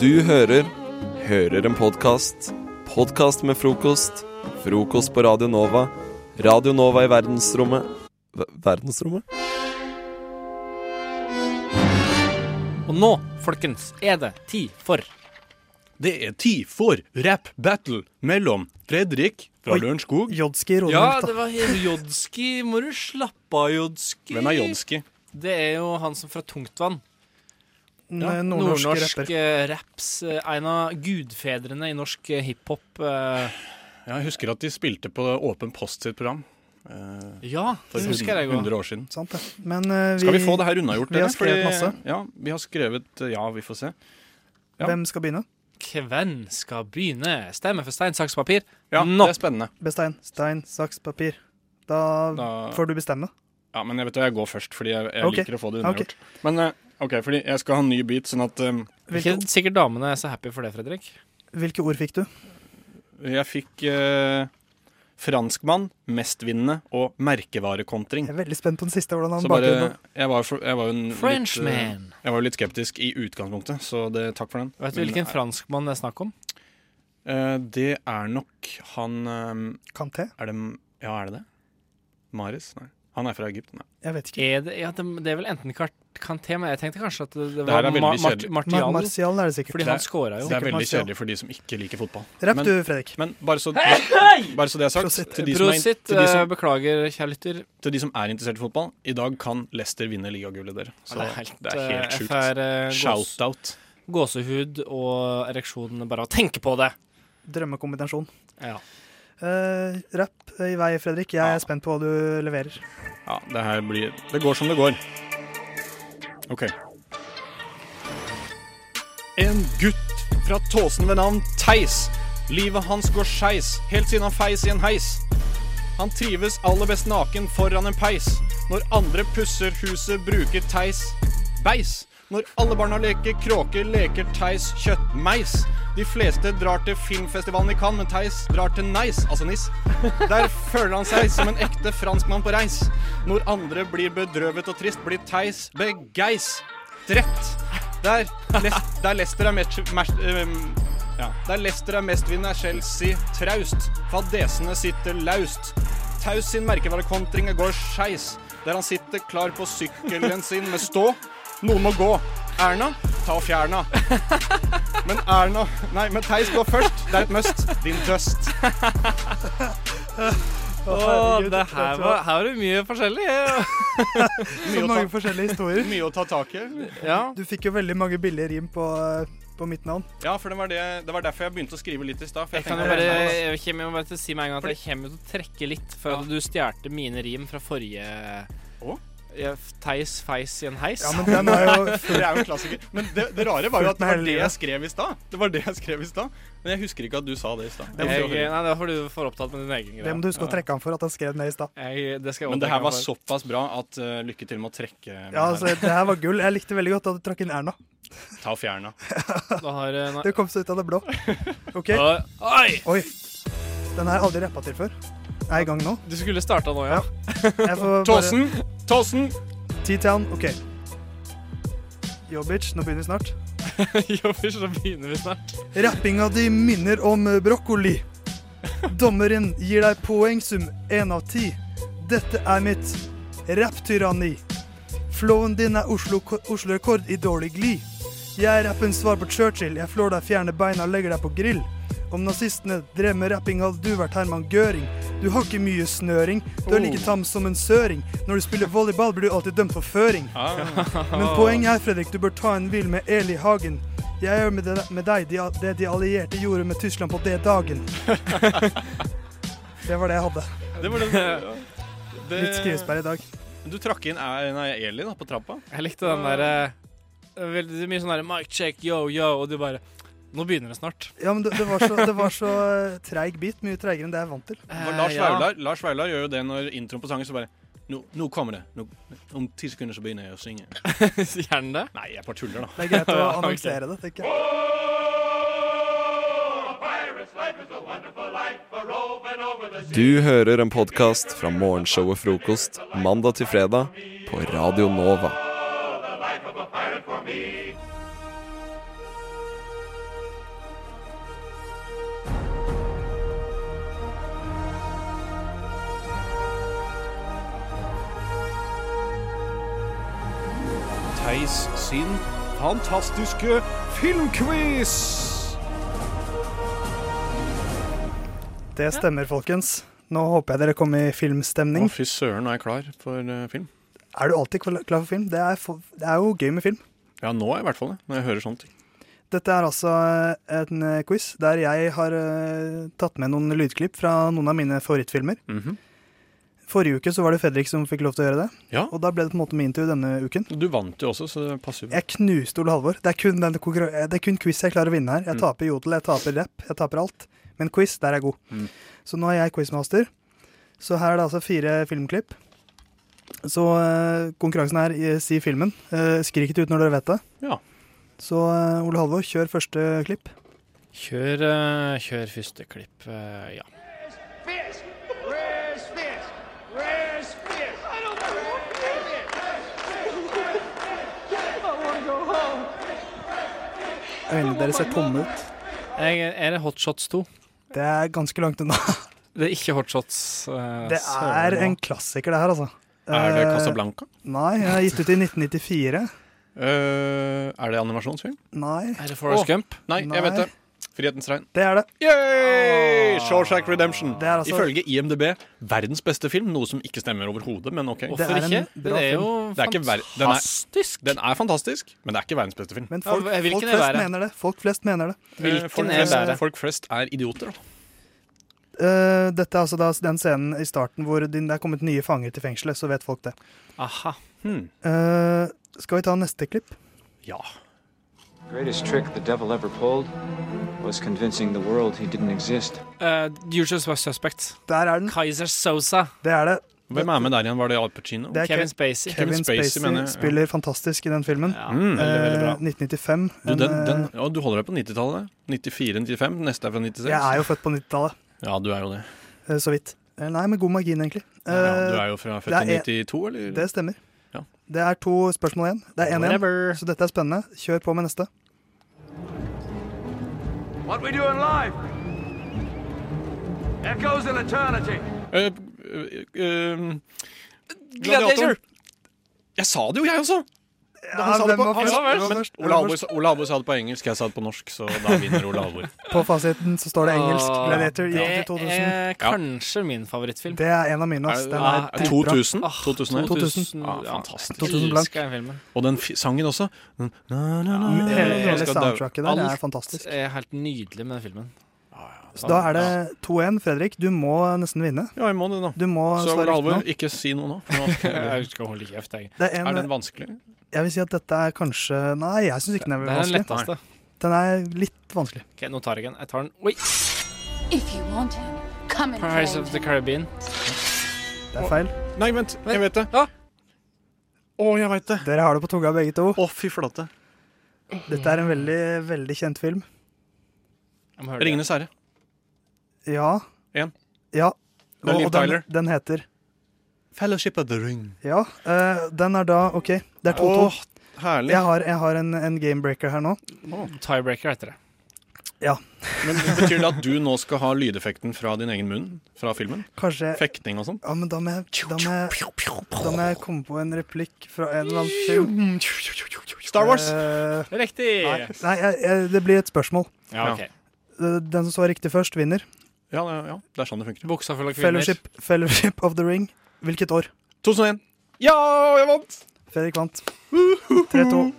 Du hører Hører en podkast. Podkast med frokost. Frokost på Radio Nova. Radio Nova i verdensrommet Ver- Verdensrommet? Og nå, folkens, er det tid for Det er tid for rap battle mellom Fredrik fra Oi. Lørenskog Jodski råder Ja, alt, det da. var helt Jodski. Må du slappe av, Jodski? Hvem er Jonski? Det er jo han som fra Tungtvann. Nei, Nordnorsk, Nordnorsk rapper. eh, raps. eh, En av gudfedrene i norsk eh, hiphop. eh, Ja, jeg husker at de spilte på Åpen post sitt program eh, Ja, for det husker jeg 100 òg. år siden. Sant det. Men eh, vi, Skal vi få det her unnagjort? vi har eller? skrevet Fordi- masse. Ja, vi har skrevet eh, Ja, vi får se. ja. Hvem skal begynne? Hvem skal begynne? Stemme for stein, saks, papir. Ja, Nå. Det er spennende. Bestein. Stein, saks, papir. Da, Da- får du bestemme. Ja, Men jeg vet hva, jeg går først, fordi jeg, jeg Ok. liker å få det Ok. unnagjort. Men eh, OK, fordi jeg skal ha en ny bit, sånn at eh, Hvilke, Ikke sikkert damene er så happy for det, Fredrik. hvilke ord fikk du? jeg fikk eh, franskmann, mestvinnende og merkevarekontring. Jeg er veldig spent på den siste. hvordan han Så baker bare, den. jeg var, for, jeg var jo en litt, eh, Frenchman. Jeg var jo litt skeptisk i utgangspunktet, så det, takk for den. Vet du hvilken Men, franskmann det er snakk om? eh, det er nok han eh, Kanté? Er det Ja, er det det? Maris? Nei. Han er fra Egypt. Nei. Jeg vet ikke. Er det, ja, det, det er vel enten Kart- Kanté, men jeg tenkte kanskje at det, det Det her var er veldig Ma Mart kjedelig. Mar Martial. Martial er det sikkert. fordi han scora jo. det er veldig Martial. kjedelig for de som ikke liker fotball. Rapp Men, du, Fredrik. men bare, så, bare så det er Prosit. sagt, til de, som er, Prosit. til, de eh, som, Beklager, kjære lytter. til de som er interessert i fotball, i dag kan Leicester vinne ligagullet, dere. Så det er helt, det er helt eh, sjukt. FR, eh, gås, Shout-out. gåsehud og ereksjon bare av å tenke på det. Drømmekombinasjon. Ja. Eh, rapp i vei, Fredrik. Jeg Ja. er spent på hva du leverer. Ja, det her blir Det går som det går. OK. En gutt fra Tåsen ved navn Theis. Livet hans går skeis helt siden han feis i en heis. Han trives aller best naken foran en peis. Når andre pusser huset, bruker Theis beis. Når alle barna leker kråker, leker Theis kjøttmeis. De fleste drar til filmfestivalen i Cannes, men Theis drar til Nice, altså Nis. Der føler han seg som en ekte franskmann på reis. Når andre blir bedrøvet og trist, blir Theis begeistret. Der, Les der Leicester er match... match øhm, ja. Der Leicester er mestvinner, er Chelsea traust. Fadesene sitter laust. Taus sin merkevarekontring går skeis. Der han sitter klar på sykkelen sin med stå. Noen må gå. Erna, ta og fjerna. Men Erna Nei, men Theis går først. Det er et must. Din dust. herregud, det dette her tror var, jeg- her var det mye forskjellig. Så Mye å mange ta, forskjellige historier. mye å ta tak i. Ja. Du fikk jo veldig mange billige rim på, eh, på mitt navn. Ja, for det var, det, det var derfor jeg begynte å skrive litt i stad. for Jeg kan jo tenkte- bare, jeg kommer jo bare til å si med en gang at jeg kommer til å trekke litt, for at du stjal mine rim fra forrige Å? Ja, Theis feis i en heis. Ja, men den er jo Det er jo en klassiker. Men det, det rare var jo at det var Fulgt med hele det livet. jeg skrev i stad. Det var det jeg skrev i stad. Men jeg husker ikke at du sa det i stad. jeg, Jeg må prøve å høre. nei, det er fordi du er for opptatt med din egen Det greie. må du huske å trekke han for, at han skrev den ned i stad. Jeg, det skal jeg Men det her var overtenke meg såpass bra at eh, lykke til med å trekke meg Ja, altså, her. det her var gull. Jeg likte veldig godt at du trakk inn Erna. Ta og fjerna. for. Da har, eh, nei. Det kom seg ut av det blå. OK. Oi! oi! Oi. Den har jeg aldri rappa til før. Jeg er i gang nå. Du skulle starta nå, ja. Ja. Jeg får bare Tåsen! Tåsen! T-Town. OK. Yo, bitch. Nå begynner vi snart. Jo, først så begynner vi snart. Rappinga di minner om brokkoli. Dommeren gir deg poengsum én av ti. Dette er mitt rapptyranni. Flowen din er Oslo- Oslo-rekord i dårlig glid. Jeg er rappens svar på Churchill. Jeg flår deg, fjerner beina, legger deg på grill. Om nazistene drev med rapping, hadde du vært Herman Gøring. Du har ikke mye snøring, du er Oh. like tam som en søring. Når du spiller volleyball, blir du alltid dømt for føring. Ah, Men poenget er, Fredrik, du bør ta en hvil med Eli Hagen. Jeg gjør med, det, med deg de, det de allierte gjorde med Tyskland på det dagen. det var det jeg hadde. det var det. det Litt skrivesperre i dag. Du trakk inn eh, nei, Eli da, på trappa. Jeg likte den derre Veldig mye sånn derre Mic check, yo, yo, og du bare Nå begynner det snart. Ja, men det, det var så, det var så eh, treig bit. Mye treigere enn det jeg er vant til. For Lars Eh, Vaular Lars Vaular gjør jo det når introen på sangen så bare nå, nå kommer det. Nå, om ti sekunder så begynner jeg å synge. Gjerne det. Nei, jeg bare tuller, da. Det er greit å annonsere det, tenker jeg. Du hører en podkast fra morgenshowet Frokost mandag til fredag på Radio Nova. Theis sin fantastiske filmquiz! Det stemmer, folkens. Nå håper jeg dere kommer i filmstemning. Å, fy søren, nå er jeg klar for eh, film. Er du alltid kla- klar for film? Det er, for, det er jo gøy med film. Ja, nå er jeg i hvert fall det, når jeg hører sånne ting. Dette er altså eh, en eh, quiz der jeg har eh, tatt med noen lydklipp fra noen av mine favorittfilmer. Mhm. Forrige uke så var det Fredrik som fikk lov til å gjøre det, Ja. og da ble det på en måte min tur denne uken. Du vant jo også, så det passer jo. Jeg knuste Ole Halvor. Det er kun, den, konkurran- eh, det er kun quiz jeg klarer å vinne her. Jeg Mm. taper Jodel, jeg taper rap, jeg taper alt. Men quiz, der er jeg god. Mm. Så nå er jeg quizmaster. Så her er det altså fire filmklipp. Så eh, konkurransen er eh, si filmen. Eh, skrik det ut når dere vet det. Ja. Så eh, Ole Halvor, kjør første klipp. Kjør, eh, kjør første klipp, eh, ja. Fisk! Where's Fisk? Where's Fisk? I don't know. I want to go home. Øynene deres ser tomme ut. Jeg, er det Hot Shots 2? Det er ganske langt unna. Det er ikke Hot Shots. eh, Det søren, er da. en klassiker, det her, altså. Er det Eh, Casablanca? Nei, jeg har gitt ut i 1994. Eh, er det animasjonsfilm? Nei, Er det Forrest Åh. Gump? Nei, jeg vet Nei. det. Frihetens regn. det er det. Yay! Shawshank Redemption. Det er altså- Ifølge IMDb verdens beste film, noe som ikke stemmer overhodet, men OK. Det Hvorfor er en ikke? bra Den er jo Det er ikke ver- den er- fantastisk. Den er fantastisk, men det er ikke verdens beste film. Men Ja, folk, hvilken folk er flest verre? mener det. Folk flest mener det. Eh, Hvilken folk, er bedre? flest, folk flest er idioter, da. Eh, dette er altså da den scenen i starten hvor det det er kommet nye fanger til fengselet, så vet folk det. Aha. Hmm. Eh, skal vi ta neste klipp? Ja. greatest trick the devil ever pulled was convincing the world he didn't exist. Eh, The Usual Suspect. Der er den. Kaiser Sosa. Det er det. Hvem er med der igjen? Var det Al Pacino? Det Kevin er Kevin, Spacey. Kevin Kevin Spacey, Spacey, mener jeg, ja. spiller fantastisk i den filmen. Ja. Mm, veldig, veldig bra. Eh, 1995. Du, En, den, den, eh, ja, du holder deg på 90-tallet. 94-95. Neste er fra 96. jeg er jo født på 90-tallet, Ja, du er jo det. eh, så vidt. Eh, Nei, med god margin, egentlig. Eh, Ja, du er jo fra det er en- 40 92, eller? Det stemmer. Ja. Det er to spørsmål igjen. Det er 1-1, Whatever. så dette er spennende. Kjør på med neste. What we doing live? Echoes in eternity. Eh, eh, eh, Gladiator. Jeg sa det jo, jeg også! Ja, hvem var først? Hvem var Men først? Ole Halvor sa- Ole Halvor sa det på engelsk, jeg sa det på norsk, så da vinner Ole Halvor. På fasiten så står det engelsk. Åh, Gladiator gikk til 2000. Det er kanskje min favorittfilm. Det er en av mine. Ass. Den er Ah, Er det dritbra. 2000? Åh, 2000. 2000. Ja, Ja, Ah, fantastisk. 2000 blank. Elsker den filmen. Og den fi- sangen også. Na, na, na, na, na, Hele, na, hele skal soundtracket der Alt er fantastisk. Det er helt nydelig med den filmen. Ah, Så da er det 2-1. Fredrik, du må nesten vinne. dø. Ja, jeg må det, da. Du må Så slå Ole riktig nå. Halvor, ikke si noe nå. for nå skal Jeg skal holde kjeft, jeg. Det er jeg- er den en, vanskelig? jeg vil si at dette er kanskje Nei, jeg syns ikke den er Det er den vanskelig. letteste. Den er litt vanskelig. Ok, nå tar jeg den. Jeg tar den. Oi! If you want him, come and Paris play. of the Caribbean. Det er feil. Nei, vent. Jeg vet det. Ja. Å, jeg veit det. Dere har det på tunga begge to. Å, fy flate. Dette er en veldig, veldig kjent film. Jeg må høre det. Ringenes herre. Ja. En. Ja. Det er Og- Liv og den, Tyler. den heter Fellowship of the Ring. Ja. eh, den er da OK. Det er 2-2. Åh, herlig. Jeg har, jeg har en, en gamebreaker her nå. Tiebreaker heter det. Men Betyr det at du nå skal ha lydeffekten fra din egen munn? Fra filmen? Kanskje Fekting og sånn? Ja, men da må jeg, da må jeg, da må jeg komme på en replikk fra en eller annen film. Star Wars! Eh, Riktig! nei, jeg, jeg, det blir et spørsmål. Ja, ok. Eh, Den som svarer riktig først, vinner. Ja, ja, ja, det er sånn det funker. Buksa full av kvinner. Fellowship, Fellowship of the Ring. Hvilket år? 2001. Ja, jeg vant! Fredrik vant. 3-2.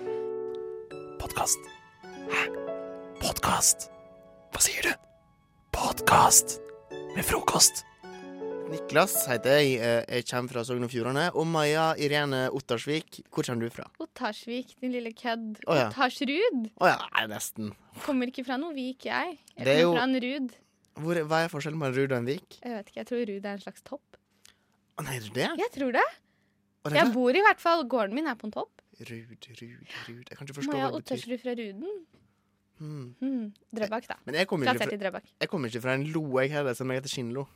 Podkast. Hæ? Podkast? Hva sier du? Podkast med frokost. Niklas heter jeg. eh, Jeg kommer fra Sogn og Fjordane. Og Maja Irene Ottersvik, hvor kommer du fra? Ottarsvik, din lille kødd. Å ja. Ottarsrud. Å ja, nei, nesten. Kommer ikke fra noe vik, jeg. Jeg Det kommer er jo- fra en rud. Hvor, hva er forskjellen på en Rud og en Vik? Jeg vet ikke, jeg tror rud er en slags topp. Å nei, er det det? Jeg tror det. Å, det er Jeg bor i hvert fall, gården min er på en topp. det? Rud, Rud, Rud Jeg kan ikke forstå Maja hva det betyr. Ottarsrud fra Ruden. Hmm. Hmm. Drøbak, da. Men jeg kommer ikke Plassert fra, i Drøbak. jeg kommer ikke fra en lo, jeg heller, selv om jeg heter Skinlo.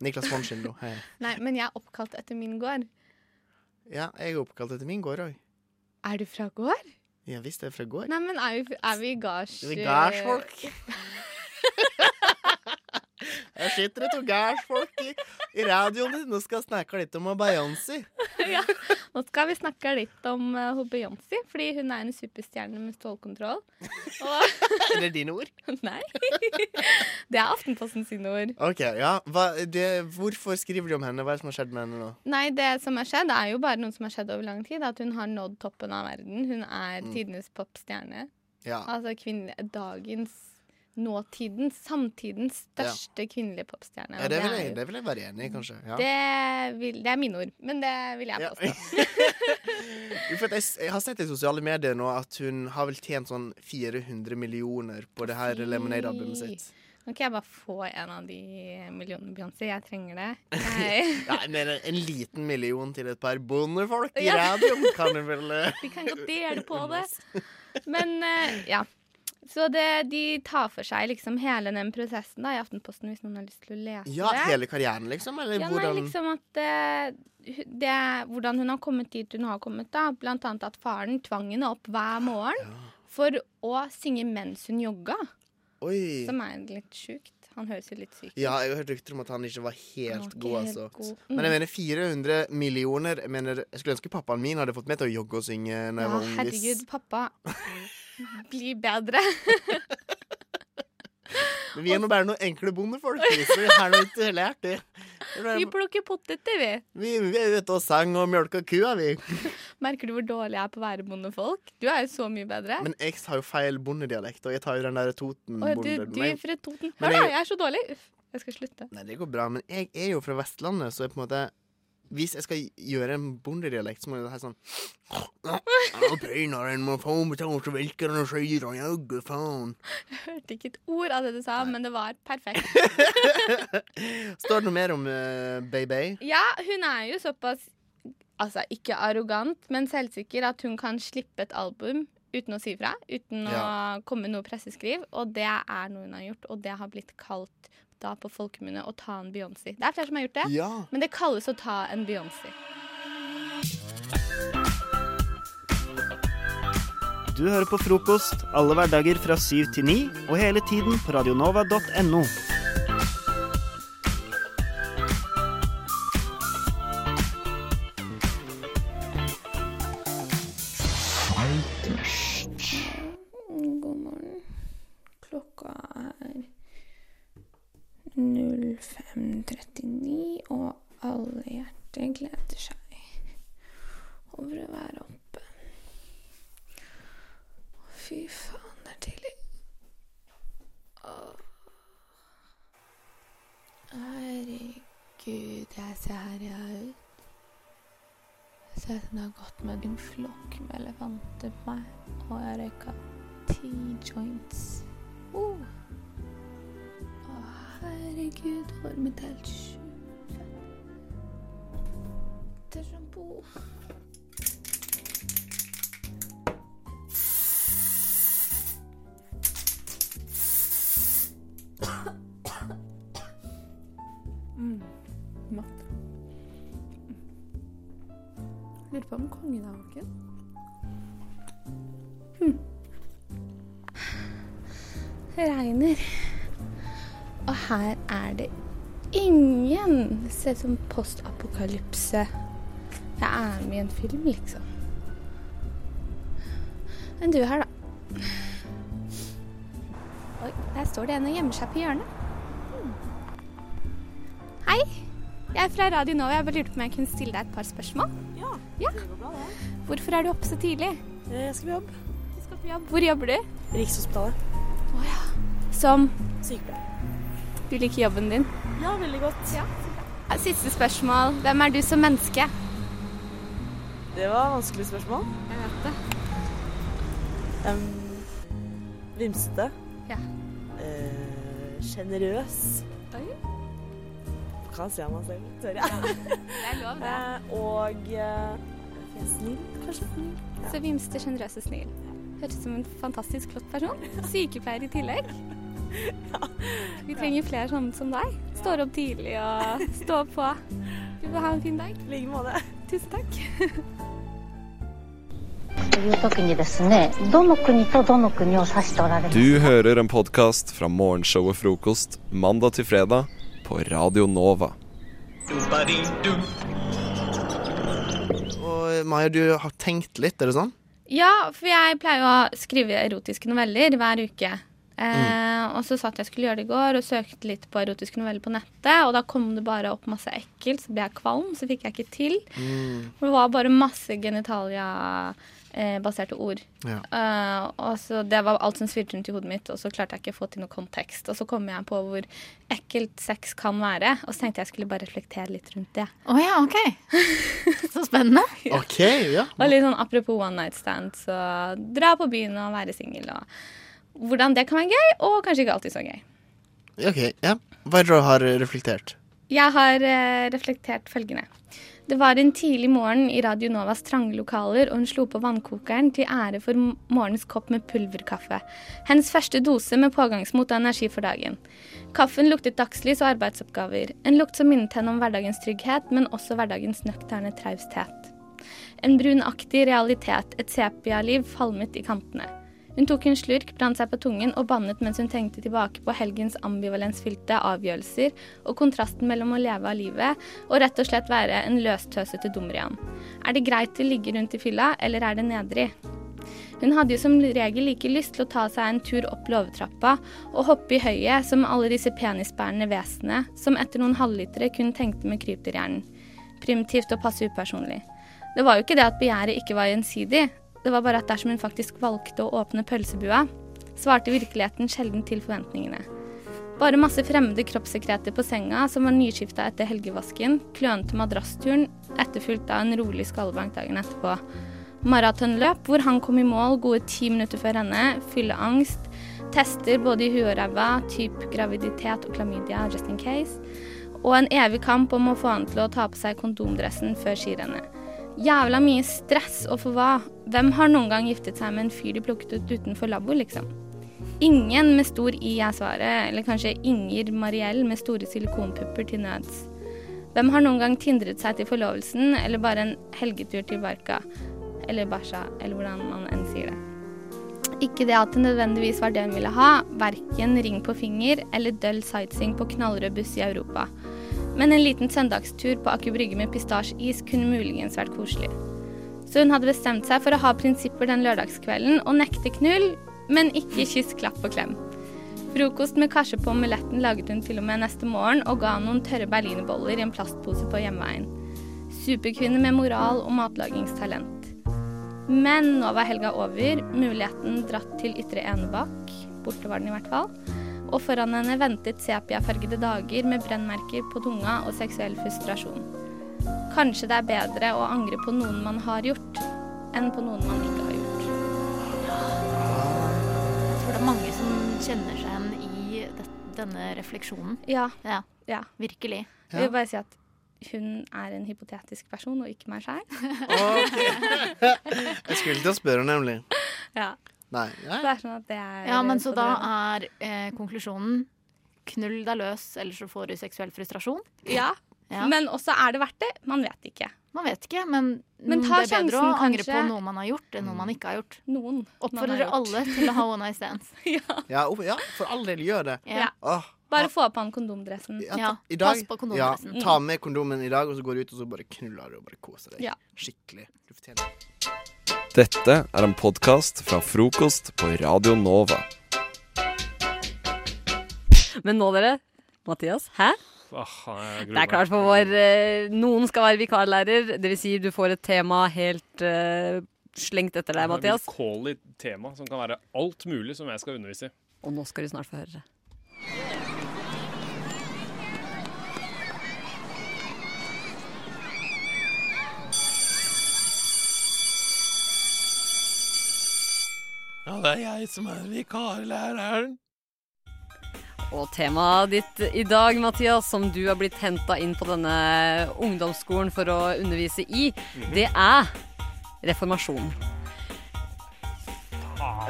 Niklas von Skinlo. Hei. Nei, men jeg er oppkalt etter min gård. Ja, jeg er oppkalt etter min gård òg. Er du fra gård? Ja visst, jeg er fra gård. Nei, men er vi, er vi gards... Det er gardsfolk. Jeg sitter et og gærsfolk i, i radioen din og skal snakke litt om abeiansi. Nå skal vi snakke litt om eh, hun Beyoncé, fordi hun er en superstjerne med stålkontroll. Og Er det dine ord? Nei! Det er Aftenposten sine ord. Ok, ja. Hva, det, hvorfor skriver de om henne? Hva er det som har skjedd med henne nå? Nei, det som har skjedd, er jo bare noe som har skjedd over lang tid. At hun har nådd toppen av verden. Hun er tidenes popstjerne. Mm. Ja. Altså kvinnelig, dagens, nåtidens, samtidens største kvinnelige popstjerne. Ja, og det, vil er jeg, jo- det vil jeg være enig i, kanskje. Ja. det, vil, det er mine ord, men det vil jeg Ja. påstå. Jo, for at jeg, s- jeg har sett i sosiale medier nå at hun har vel tjent sånn 400 millioner på det her Fy. Lemonade-albumet sitt. Nå kan jeg bare få en av de millionene, Beyoncé. Jeg trenger det. Jeg, Ja, men en liten million til et par bondefolk i Ja. radioen kan hun vel eh, vi kan godt dele på det. Men eh, ja. Så det, de tar for seg liksom hele den prosessen da, i Aftenposten, hvis noen har lyst til å lese Ja, det. hele karrieren, liksom? Eller Ja, hvordan nei, liksom at eh, hu- det, Hvordan hun har kommet dit hun har kommet, da. Blant annet at faren tvang henne opp hver morgen for å synge mens hun jogga. Oi. Som er litt sjukt. Han høres jo litt syk ut. Ja, jeg har hørt rykter om at han ikke var Han var helt ikke god, helt altså. god. Mm. Men jeg mener 400 millioner jeg, mener, jeg skulle ønske pappaen min hadde fått meg til å jogge og synge når jeg Ja, var ung. hvis- herregud, pappa. Bli bedre. Men vi er nå bare noen enkle bondefolk. vi, Så vi har nå ikke lært det. Vi, Vi bare, plukker poteter, vi. vi, vi er ute og sang og mjølka kua, vi. Merker du hvor dårlig jeg er på å være bondefolk? Du er jo så mye bedre. Men jeg har jo feil bondedialekt, og jeg tar jo den der Å, du, Toten-bonden. du er fra Toten. Men Hør, da, jeg- jeg er så dårlig. Uff, jeg skal slutte. Nei, det går bra, men jeg er jo fra Vestlandet, så jeg på en måte Hvis jeg skal gjøre en bondedialekt, så må jeg være sånn «Ja, Brynaren må få betalt for velkerne og skyer og jaggu faen. Hørte ikke et ord av det du sa, men det var perfekt. Står det noe mer om uh, Bay-Bay? Ja, hun er jo såpass Altså ikke arrogant, men selvsikker at hun kan slippe et album uten å si fra. Uten Ja. å komme med noe presseskriv. Og det er noe hun har gjort, og det har blitt kalt da på folkemunne å ta en Beyoncé. Det er flere som har gjort det, Ja. men det kalles å ta en Beyoncé. Du hører på frokost alle hverdager fra syv til ni, og hele tiden på radionova.no. God morgen. Klokka er 05.39, og alle hjerter gleder seg over å være oppe. Å, Fy faen, det er tidlig. Åh. Herregud, jeg ser her jeg er ut. Jeg ser ut som det har gått med en flokk med elefanter på meg, og jeg røyka ti joints. Oh. Å, herregud, håret mitt er helt sjukt. Det er sjampo. Mm. Matt. Lurer på om kongen er våken. Hm. Det regner. Og her er det ingen Se som postapokalypse. Jeg er med i en film, liksom. Men du her, da. Oi, der står det en og gjemmer seg på hjørnet. Hmm. Hei. Jeg er fra Radio Nova. Jeg bare lurte på om jeg kunne stille deg et par spørsmål. Ja, det går bra, det. Hvorfor er du oppe så tidlig? Eh, Jeg skal på jobb. Du skal på jobb. Hvor jobber du? Rikshospitalet. Å ja. Som? Sykepleier. Du liker jobben din? Ja, veldig godt. Siste spørsmål. Hvem er du som menneske? Det var vanskelig spørsmål. Jeg vet det. Em, vimsete. Ja. Eh, Sjenerøs. Hva sier man selv? Tør jeg? Det er lov, det. Eh, og eh, snill, kanskje? Så vimste, sjenerøs og snill. Høres ut som en fantastisk flott person. Sykepleier i tillegg. Vi trenger flere sånne som deg. Står opp tidlig og står på. Du får ha en fin dag. I like måte. Tusen takk. という時にですねどの国とどの国を指しておられます Du hører en podkast fra morgenshowet Frokost mandag til fredag på Radio Nova. Og Og Maja, du har tenkt litt, er det sånn? Ja, for jeg pleier jo å skrive erotiske noveller hver uke. Eh, og så satt jeg skulle gjøre det i går og søkte litt på erotiske noveller på nettet. Og da kom det bare opp masse ekkelt, så ble jeg kvalm, så fikk jeg ikke til. Mm. For det var bare masse genitalia-baserte ord. Ja. Eh, og så Det var alt som svirte rundt i hodet mitt, og så klarte jeg ikke å få til noe kontekst. Og så kom jeg på hvor ekkelt sex kan være, og så tenkte jeg skulle bare reflektere litt rundt det. Å ja, OK. Så spennende. OK, ja. Og litt sånn apropos one night stand, så dra på byen og være singel og hvordan det kan være gøy, og kanskje ikke alltid så gøy. Ja, ok, ja. Hva er det du har reflektert? Jeg har eh, reflektert følgende. Det var en tidlig morgen i Radio Novas trange lokaler, og hun slo på vannkokeren til ære for m- morgenens kopp med pulverkaffe. Hennes første dose med pågangsmot og energi for dagen. Kaffen luktet dagslys og arbeidsoppgaver. En lukt som minnet henne om hverdagens trygghet, men også hverdagens nøkterne trausthet. En brunaktig realitet, et sepialiv falmet i kantene. Hun tok en slurk, brant seg på tungen og bannet mens hun tenkte tilbake på helgens ambivalensfylte avgjørelser og kontrasten mellom å leve av livet og rett og slett være en løstøsete dumrian. Er det greit å ligge rundt i fylla, eller er det nedrig? Hun hadde jo som regel like lyst til å ta seg en tur opp låvetrappa og hoppe i høyet som alle disse penisbærende vesenene som etter noen halvlitere kun tenkte med krypdyrhjernen. Primitivt og passe upersonlig. Det var jo ikke det at begjæret ikke var gjensidig, det var bare at dersom hun faktisk valgte å åpne pølsebua, svarte virkeligheten sjelden til forventningene. Bare masse fremmede kroppssekreter på senga som var nyskifta etter helgevasken, klønete madrassturen, etterfulgt av en rolig skallebank dagen etterpå. Maratonløp hvor han kom i mål gode ti minutter før henne, fylleangst, tester både i huet og ræva, typ graviditet og klamydia, just in case, og en evig kamp om å få han til å ta på seg kondomdressen før skirennet. Jævla mye stress, og for hva? Hvem har noen gang giftet seg med en fyr de plukket ut utenfor labo, liksom? Ingen med stor I er svaret, eller kanskje Inger Mariell med store silikonpupper til nøds. Hvem har noen gang tindret seg til forlovelsen, eller bare en helgetur til Barca? Eller Barca, eller hvordan man enn sier det. Ikke det at det nødvendigvis var det hun ville ha, verken ring på finger eller døll sightseeing på knallrød buss i Europa. Men en liten søndagstur på Aker Brygge med pistasjeis kunne muligens vært koselig. Så hun hadde bestemt seg for å ha prinsipper den lørdagskvelden og nekte knull, men ikke kyss, klapp og klem. Frokost med karse på omeletten laget hun til og med neste morgen, og ga han noen tørre berlinerboller i en plastpose på hjemveien. Superkvinne med moral og matlagingstalent. Men nå var helga over, muligheten dratt til ytre enebakk, borte var den i hvert fall, og foran henne ventet sepiafargede dager med brennmerker på tunga og seksuell frustrasjon. Kanskje det er bedre å angre på noen man har gjort, enn på noen man ikke har gjort. Jeg tror det er mange som kjenner seg igjen i det, denne refleksjonen. Ja. Virkelig. Jeg vil bare si at hun er en hypotetisk person, og ikke meg sjæl. Jeg skulle til å spørre, nemlig. ja. Nei. Så det er sånn at det er Ja, men så da er eh, konklusjonen knull deg løs, ellers så får du seksuell frustrasjon. Ja. Ja. Men også er det verdt det? Man vet ikke. Man vet ikke, men, Men ta det er bedre å sjansen, angre kanskje. på noe man har gjort, enn noe man ikke har gjort. Noen man Oppfordrer har gjort. alle til å ha one night stands. Ja, opp- ja, for all del, gjør det. Ja. Åh, Bare få på han kondomdressen. ta- i dag- Ja, ta med kondomen i dag, og så går du ut og så bare knuller du og bare koser deg. Ja. Skikkelig. Du fortjener det. Dette er en podkast fra frokost på Radio Nova. Men nå, dere. Mathias, hæ? Åh, Ah, jeg gruer Det er meg. klart for vår eh, Noen skal være vikarlærer. Det vil si, du får et tema helt eh, slengt etter deg, Mathias. Et vilkårlig tema som kan være alt mulig som jeg skal undervise i. Og nå skal du snart få høre. Ja, det er jeg som er vikarlæreren. Og temaet ditt i dag, Mathias, som du har blitt henta inn på denne ungdomsskolen for å undervise i, Mhm. det er reformasjon.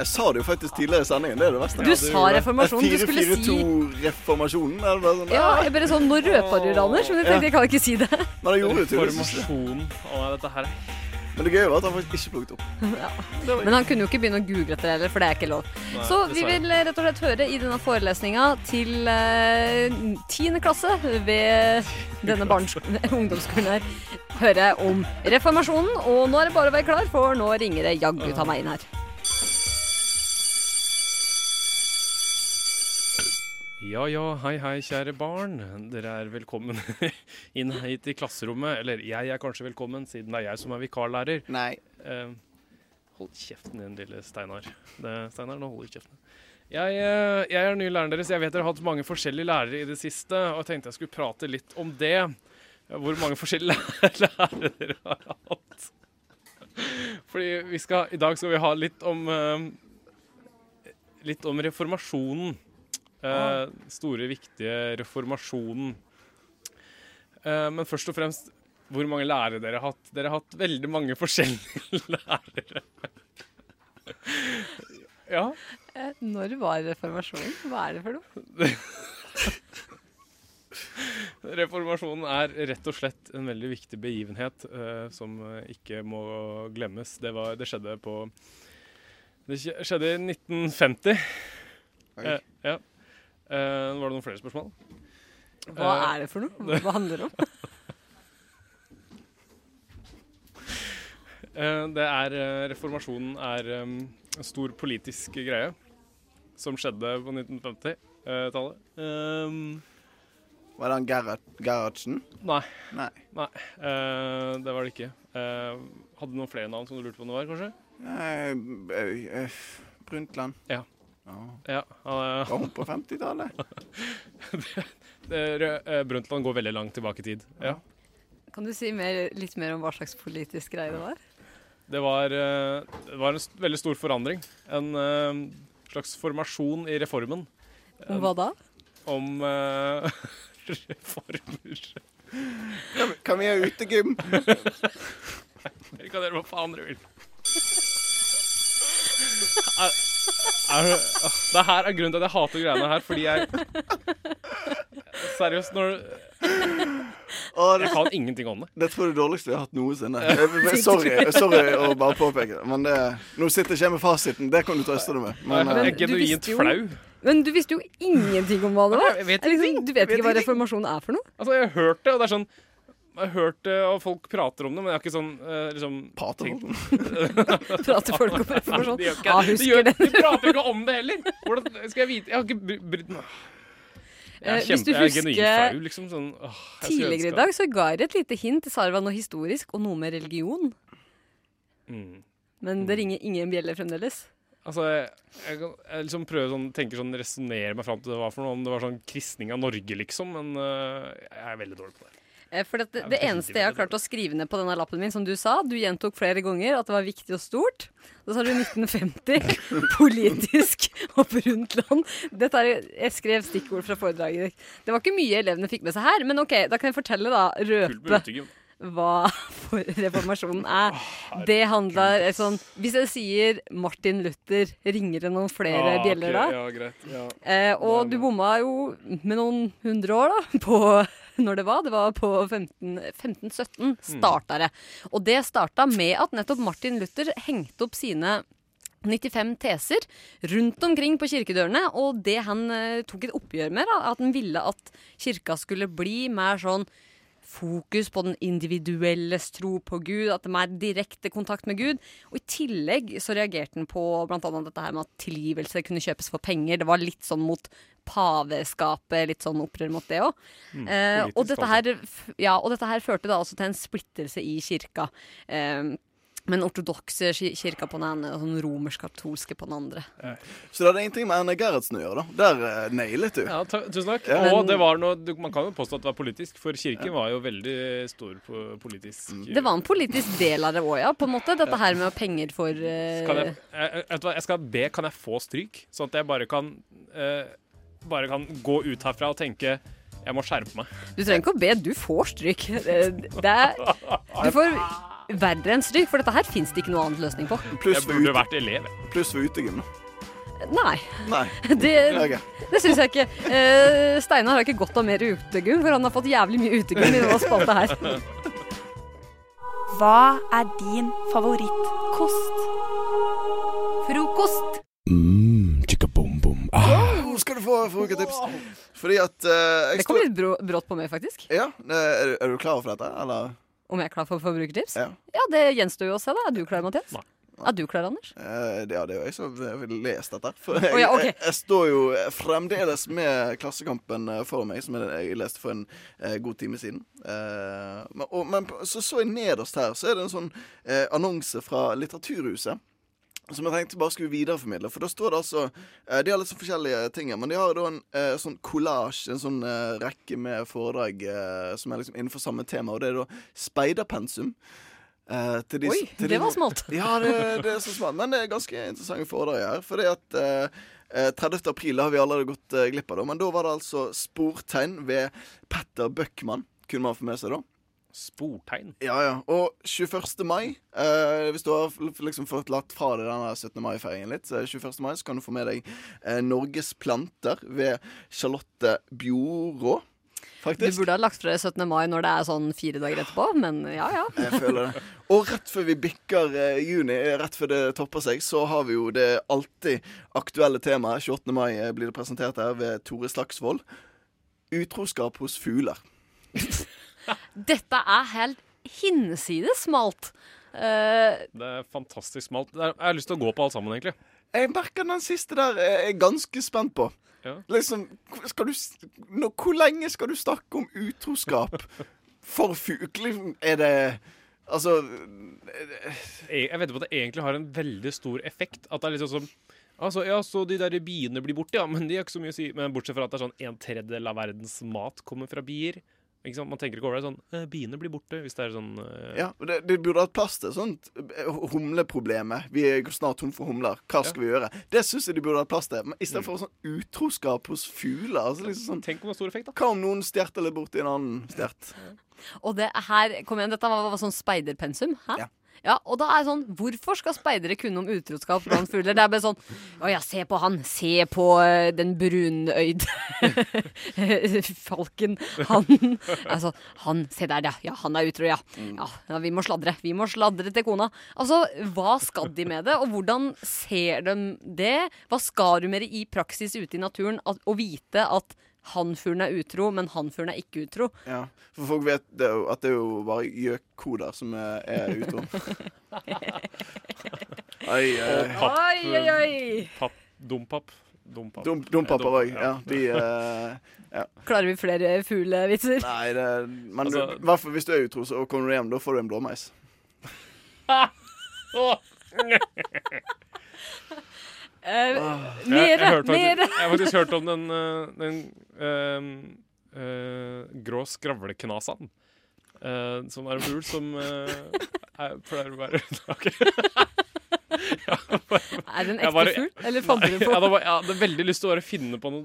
Jeg sa det jo faktisk tidligere i sendingen. Det er det verste. Du Ja, du sa gjorde det. reformasjon, du skulle si- 4-4-2-reformasjonen. eller noe sånt. Ja, jeg bare sånn, Nå røpa du det, Anders, men jeg tenkte jeg kan ikke si det. Men det gjorde du til Reformasjon. Å, nei, dette her er Men det gøye var at han faktisk ikke plukket opp. Ja. Men han kunne jo ikke begynne å google etter det heller, for det er ikke lov. Nei, Så vi dessverre. vil eh, rett og slett høre i denne forelesninga til eh, tiende klasse ved denne barnes- ungdomsskolen her. høre om reformasjonen. Og nå er det bare å være klar, for nå ringer det jaggu ta meg inn her. Ja ja, hei hei, kjære barn. Dere er velkommen inn hit i klasserommet. Eller jeg er kanskje velkommen, siden det er jeg som er vikarlærer. Eh, Nei. hold kjeften din, lille Steinar. Det, Steinar, nå holder du kjeften. Jeg, eh, jeg er den nye læreren deres. Jeg vet dere har hatt mange forskjellige lærere i det siste, og jeg tenkte jeg skulle prate litt om det. Hvor mange forskjellige læ- lærere dere har hatt. Fordi vi skal, i dag skal vi ha litt om eh, Litt om reformasjonen. Eh, store, viktige reformasjonen. Eh, men først og fremst, hvor mange lærere dere har hatt? Dere har hatt veldig mange forskjellige lærere. ja. Eh, Når var reformasjonen? Hva er det for noe? Reformasjonen er rett og slett en veldig viktig begivenhet eh, som eh, ikke må glemmes. Det, var, det skjedde på Det skje- skjedde i 1950. Oi. Eh, ja. Eh, var det noen flere spørsmål? Hva Eh, er det for noe? Hva handler det om? Eh, Det er eh, Reformasjonen er eh, en stor politisk greie som skjedde på 1950-tallet. Var det han Gerhard, Gerhardsen? Nei. Nei. eh, det var det ikke. Eh, hadde du noen flere navn som du lurte på om det var, kanskje? Nei, øy, øy, Eh, Brundtland. Ja. Ja, Var hun på 50-tallet? eh, Brundtland går veldig langt tilbake i tid. Ja. Kan du si mer, litt mer om hva slags politisk greie det var? Det var, eh, det var en st veldig stor forandring. En eh, slags formasjon i reformen. Om hva da? Om eh, reformer. Kan, kan vi ha utegym? Dere kan gjøre hva faen dere vil. Er, er, åh, det her er grunnen til at jeg hater greiene her, fordi jeg Seriøst, når Jeg kan ingenting om det. Dette var det dårligste jeg har hatt noensinne. Jeg- jeg- Sorry, sorry å bare påpeke det. Men det, nå sitter ikke jeg med fasiten. Det kan du trøste deg med. Men, Men eh, du visste jo- Men du visste jo ingenting om hva det var. Jeg vet Det er liksom, du vet Jeg vet ikke hva reformasjon er for noe? Altså, jeg har hørt det, og det er sånn jeg har hørt det, og folk prater om det, men jeg har ikke sånn eh, liksom, Prater tenkt- Prater folk om reformasjon? De, gjør ikke, Ah, det. de, husker gjør, det. de prater jo ikke om det heller! Hvordan skal jeg vite Jeg har ikke bry- brydd meg Jeg Eh, er, hvis kjempe, du jeg er genuint husker flau, liksom. Sånn, åh, jeg skulle Tidligere i ønske dag så ga jeg deg et lite hint. Jeg Sa det var noe historisk og noe med religion. at- Mm. Men det ringer ingen bjeller fremdeles. Altså, jeg, jeg, kan- jeg liksom prøver sånn, tenker sånn, resonnere meg fram til det var for noe, om det var sånn kristning av Norge, liksom, men eh, jeg er veldig dårlig på det. Eh, For det, det, Jeg det vet ikke eneste hva jeg har det klart å skrive ned på denne lappen min, som du sa Du gjentok flere ganger at det var viktig og stort. Så sa du 1950, politisk og brunt land. Dette er, jeg skrev stikkord fra foredraget. Det var ikke mye elevene fikk med seg her, men OK, da kan jeg fortelle, da. Røpe utingen. hva for reformasjonen er. Det handler eh, sånn Hvis jeg sier Martin Luther, ringer det noen flere Ah, ok, bjeller da? Ja, greit. Ja. Eh, og du bomma jo med noen hundre år, da, på når det var. Det var på 15 1517 starta det. Og det starta med at nettopp Martin Luther hengte opp sine 95 teser rundt omkring på kirkedørene, og det han eh, tok et oppgjør med, da, at han ville at kirka skulle bli mer sånn fokus på den individuelles tro på Gud, at de er direkte kontakt med Gud. Og i tillegg så reagerte han på blant annet dette her med at tilgivelse kunne kjøpes for penger. Det var litt sånn mot paveskapet, litt sånn opprør mot det òg. Mm, eh, og, politisk, dette her, f- ja, og dette her førte da også til en splittelse i kirka. Eh, men ortodokse ki- kirka på den ene og sånn romersk-katolske på den andre. Så det hadde ingenting med Erne Gerhardsen å gjøre, da. Der eh, nailet du. Ja, ta, tusen takk. Ja. Og det var noe, du, man kan jo påstå at det var politisk, for kirken var jo veldig stor på Mm. politisk. Det var en politisk del av det òg, ja. På en måte. Dette her med penger for eh, Kan jeg, jeg, jeg- vet du hva, jeg skal be, kan jeg få stryk? Sånn at jeg bare kan, eh, bare kan gå ut herfra og tenke jeg må skjerpe meg. Du trenger ikke å be, du får stryk. Det det er, du får verre enn stryk, for dette her fins det ikke noe annen løsning på. Jeg burde vært elev. Pluss ved utegym. Nei. Nei. Det, Ok. det syns jeg ikke. Eh, Steinar har ikke godt av mer utegym, for han har fått jævlig mye utegym i denne spalta her. Hva er din favorittkost? Frokost. Mm, chicka-boom-boom. Ah. Nå skal du få froketips. Fordi at eh, jeg Det kom litt brå- brått på meg, faktisk. Ja, eh, er, du- er du klar for dette, eller? Om jeg er klar for forbrukertips? Ja. det gjenstår jo å se, da. Er du klar, Mathias? Er du klar, Anders? Eh, det- Ja, det er jo jeg som vil lese dette. For Å, jeg, ja, ok. jeg, jeg står jo fremdeles med Klassekampen eh, foran meg, som jeg jeg leste for en eh, god time siden. Eh, men og, men på- så så jeg nederst her, så er det en sånn eh, annonse fra Litteraturhuset. Som jeg tenkte bare skulle videreformidle. For da står det altså eh, De har litt sånn forskjellige ting her, men de har da en eh, sånn collage, en sånn eh, rekke med foredrag eh, som er liksom innenfor samme tema, og det er da speiderpensum. Eh, til de, Oi, til de- det var smalt. Ja, det, det er så smalt. Men det er ganske interessante foredrag her. Fordi at eh, eh, 30. april har vi allerede gått eh, glipp av, da. Men da var det altså sportegn ved Petter Bøckmann. Kunne man få med seg, da. Sportegn? Ja, ja. Og 21. mai, eh, hvis du har f- liksom fått latt fra deg denne 17. mai-feiringen litt, så er det 21. mai så kan du få med deg eh, Norges planter ved Charlotte Bjorå. Faktisk. Du burde ha lagt fra deg 17. mai når det er sånn fire dager etterpå, men ja ja. Jeg føler det. Og rett før vi bikker eh, juni, eh, rett før det topper seg, så har vi jo det alltid aktuelle temaet. 28. mai eh, blir det presentert her ved Tore Slagsvold. Utroskap hos fugler. Dette er helt hinsides smalt. Eh, Det er fantastisk smalt. Det er- Jeg har lyst til å gå på alt sammen, egentlig. Jeg merker den siste der eh, jeg er ganske spent på. Liksom, hvor- skal du, s- nå, hvor lenge skal du snakke om utroskap for fugler? Er det Altså Jeg jeg vet på at det egentlig har en veldig stor effekt. At det er liksom som Altså, ja, så de der biene blir borte, ja, men de har ikke så mye å si. Men bortsett fra at det er sånn en tredjedel av verdens mat kommer fra bier. Ikke sant? Man tenker ikke over det sånn eh, Biene blir borte, hvis det er sånn eh, Ja, og det, det burde hatt plass til sånt eh, humleproblemet. Vi er jo snart tom for humler. Hva skal vi gjøre? Det syns jeg de burde hatt plass til. Men istedenfor sånn utroskap hos fugler. Altså liksom sånn, Tenk om det har stor effekt, da. Hva om noen stjerter litt borti en annen stjert? Og det her, kom igjen, dette var, var sånn speiderpensum. Hæ? Ja. og da er det sånn, Hvorfor skal speidere kunne om utroskap blant fugler? Det er bare sånn Å ja, se på han. Se på eh, den brunøyde falken. Han altså, han, Se der, ja. ja han er utro, ja. ja. Ja, Vi må sladre. Vi må sladre til kona. Altså, hva skal de med det? Og hvordan ser de det? Hva skal du med det i praksis ute i naturen? At, å vite at han fuglen er utro, men han fuglen er ikke utro. Ja, For folk vet det jo, at det er jo bare gjøkkoder som er, er utro. Oi, Og papp, Oi, oi, oi. Papp, dompap. Dompap. Dum- Dompapper Eh, òg. Ja, de eh, ja. Klarer vi flere fuglevitser? Nei, det, men Altså- du, hvertfall hvis du er utro, så og kommer du hjem, da får du en blåmeis. Ah. Eh, Jeg- jeg mere, hørte faktisk- mere. Jeg har faktisk hørt om den, eh, den eh, eh, grå skravleknasaen. eh, som er en fugl som eh, er, pleier å være Ok. Jeg bare- Er det en jeg ekte fugl, eller fant Nei, du det på? Jeg hadde, bare- jeg hadde veldig lyst til å bare finne på, noe,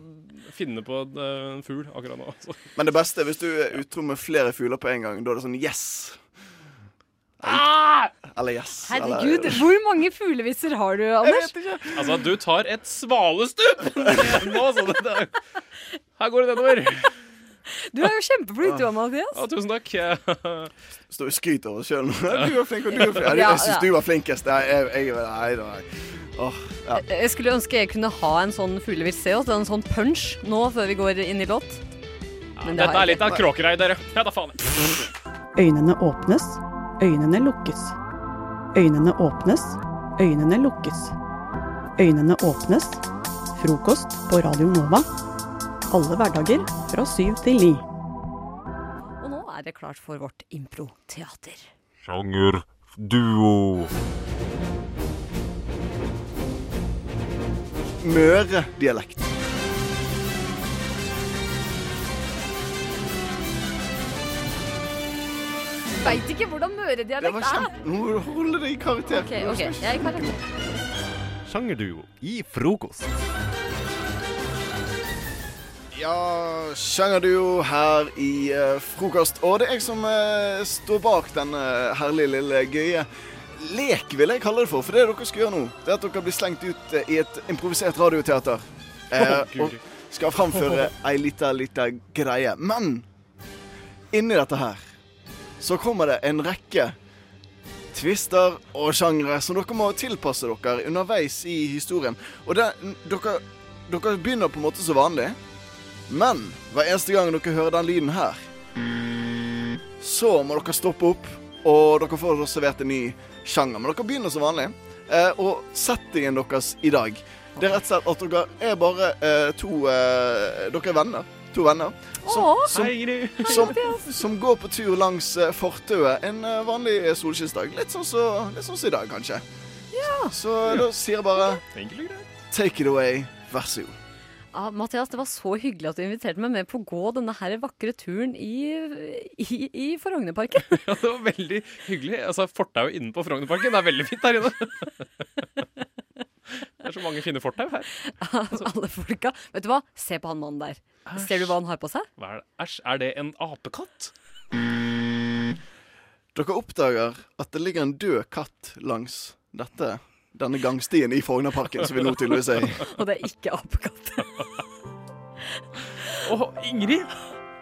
finne på en, eh, en fugl akkurat nå. altså. Men det beste er hvis du er utro med flere fugler på en gang. Da er det sånn yes. Eller yes. Ah! Herregud, Eller, hvor mange fuglevitser har du, Anders? Altså, du tar et svalestup nå, så det, det, Her går det nedover. Du er jo kjempeflink, Ah. du, Mathias. Ja, tusen takk. Står og skryter over oss sjøl. Du var flink, og du var flink. Ja, Jeg syns ja. du var flinkest. Nei, jeg, jeg, nei, nei. Åh, ja. Jeg skulle ønske jeg kunne ha en sånn fuglevits til oss, en sånn punch nå før vi går inn i låt. Men det Dette har er jeg litt av ikke. kråkerei, dere. Ja, da faen. Øynene åpnes, øynene lukkes. Øynene åpnes, øynene lukkes. Øynene åpnes. Frokost på Radio Nova. Alle hverdager fra syv til ni. Og nå er det klart for vårt improteater. Sjangerduo. Møre-dialekt. Veit ikke hvordan møredialekt er. Nå holder det i karakter. OK, ok, jeg er i karakter. Sjangerduo i frokost. Ja, sjangerduo her i eh, frokost. Og det er jeg som eh, står bak denne herlige lille gøye lek, vil jeg kalle det for. For det dere skal gjøre nå, det er at dere blir slengt ut eh, i et improvisert radioteater. Eh, Å, Gud. og skal framføre ei lita, lita greie. Men inni dette her så kommer det en rekke twister og sjangre som dere må tilpasse dere underveis i historien. Og det, dere, dere begynner på en måte som vanlig, men hver eneste gang dere hører den lyden her, så må dere stoppe opp, og dere får servert en ny sjanger. Men dere begynner som vanlig. Eh, og settingen deres i dag, det er rett og slett at dere er bare eh, to eh, Dere er venner. To venner. Åh. Hei, som, Gry. Hei, som, Mathias. som går på tur langs eh, fortauet en eh, vanlig eh, solskinnsdag. Litt sånn som litt sånn som i dag, kanskje. Så eh, da sier jeg bare Take it away. Vær så god. Ja, Mathias, det var så hyggelig at du inviterte meg med på å gå denne her vakre turen i, i, i Frognerparken. Ja, det var veldig hyggelig. Altså, Fortauet innenpå Frognerparken er veldig fint her inne. Det er så mange fine fortau her. Av Altså, alle folka. Vet du hva? Se på han mannen der. Ser du hva han har på seg? Hva er det? Æsj, er det en apekatt? Dere oppdager at det ligger en død katt langs dette, denne gangstien i Frognerparken, som vi nå tydeligvis er i. Og det er ikke apekatt. Å, Ingrid!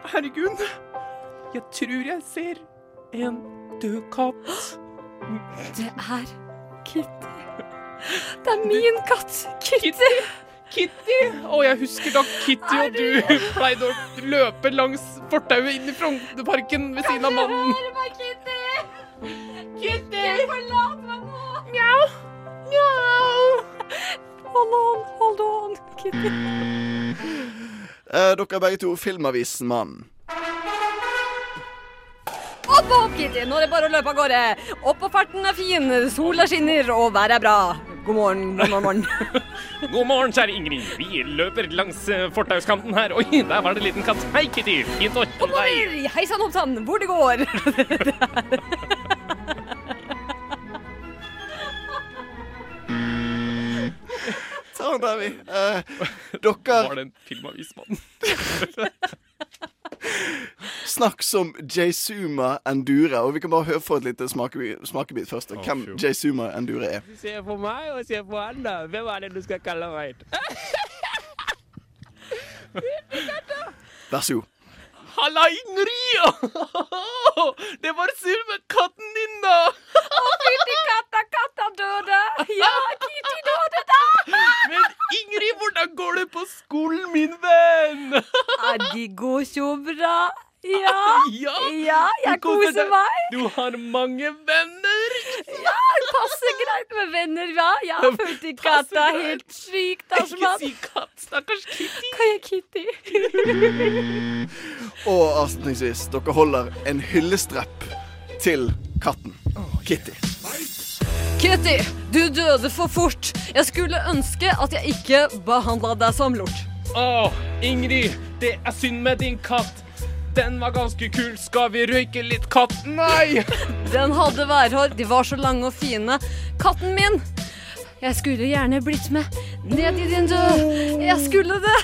Herregud! Jeg tror jeg ser en død katt. Det er Kitty. Det er min katt! Kitty! Kitty! Å, jeg husker da Kitty og du pleide å løpe langs fortauet inn i Frognerparken ved siden av mannen. meg, Kitty! Kitty! Forlat meg nå! Mjau! Mjau! Hold on, hold on, Kitty. Eh, dere er begge to Filmavisen-mannen. Opp opp, Kitty! Nå er det bare å løpe av gårde. Opp og farten er fin, sola skinner og været er bra. God morgen, god morgen. morgen. God morgen, kjære Ingrid. Vi løper langs eh, fortauskanten her. Oi, der var det en liten katt. Hei, Kitty. Fint å kjenne deg. Hei sann, hopp sann, hvor det går. Sånn, der er vi. Eh, dere Var det en filmavismann? Snakk som Jaysuma Endure, og vi kan bare høre få et lite smakebit, smakebit først. da, Å, hvem fjo. Jaysuma Endure er. Se på meg og se på han, da. Hvem er det du skal kalle meg? Vær så god. Halla, Ingrid! Det var silverkatten din, da! Å, fytti katta, katta døde! Ja, Kitty døde da! Men Ingrid, hvordan går det på skolen, min venn? Ja, de går så bra. Ja, Ja, ja jeg du koser koser deg. meg. Du har mange venner. Ja, det passer greit med venner, hva? Jeg har fulgt i katta helt sykt, altså, mann. Ikke si katt, stakkars Kitty. Kan jeg Kitty? Og avslutningsvis, dere holder en hyllestrepp til katten. Kitty. Kitty, du døde for fort. Jeg skulle ønske at jeg ikke behandla deg som lort. Å, Ingrid. Det er synd med din katt. Den var ganske kul. Skal vi røyke litt katt? Nei! Den hadde værhår, de var så lange og fine. Katten min! Jeg skulle gjerne blitt med ned i din død. Jeg skulle det.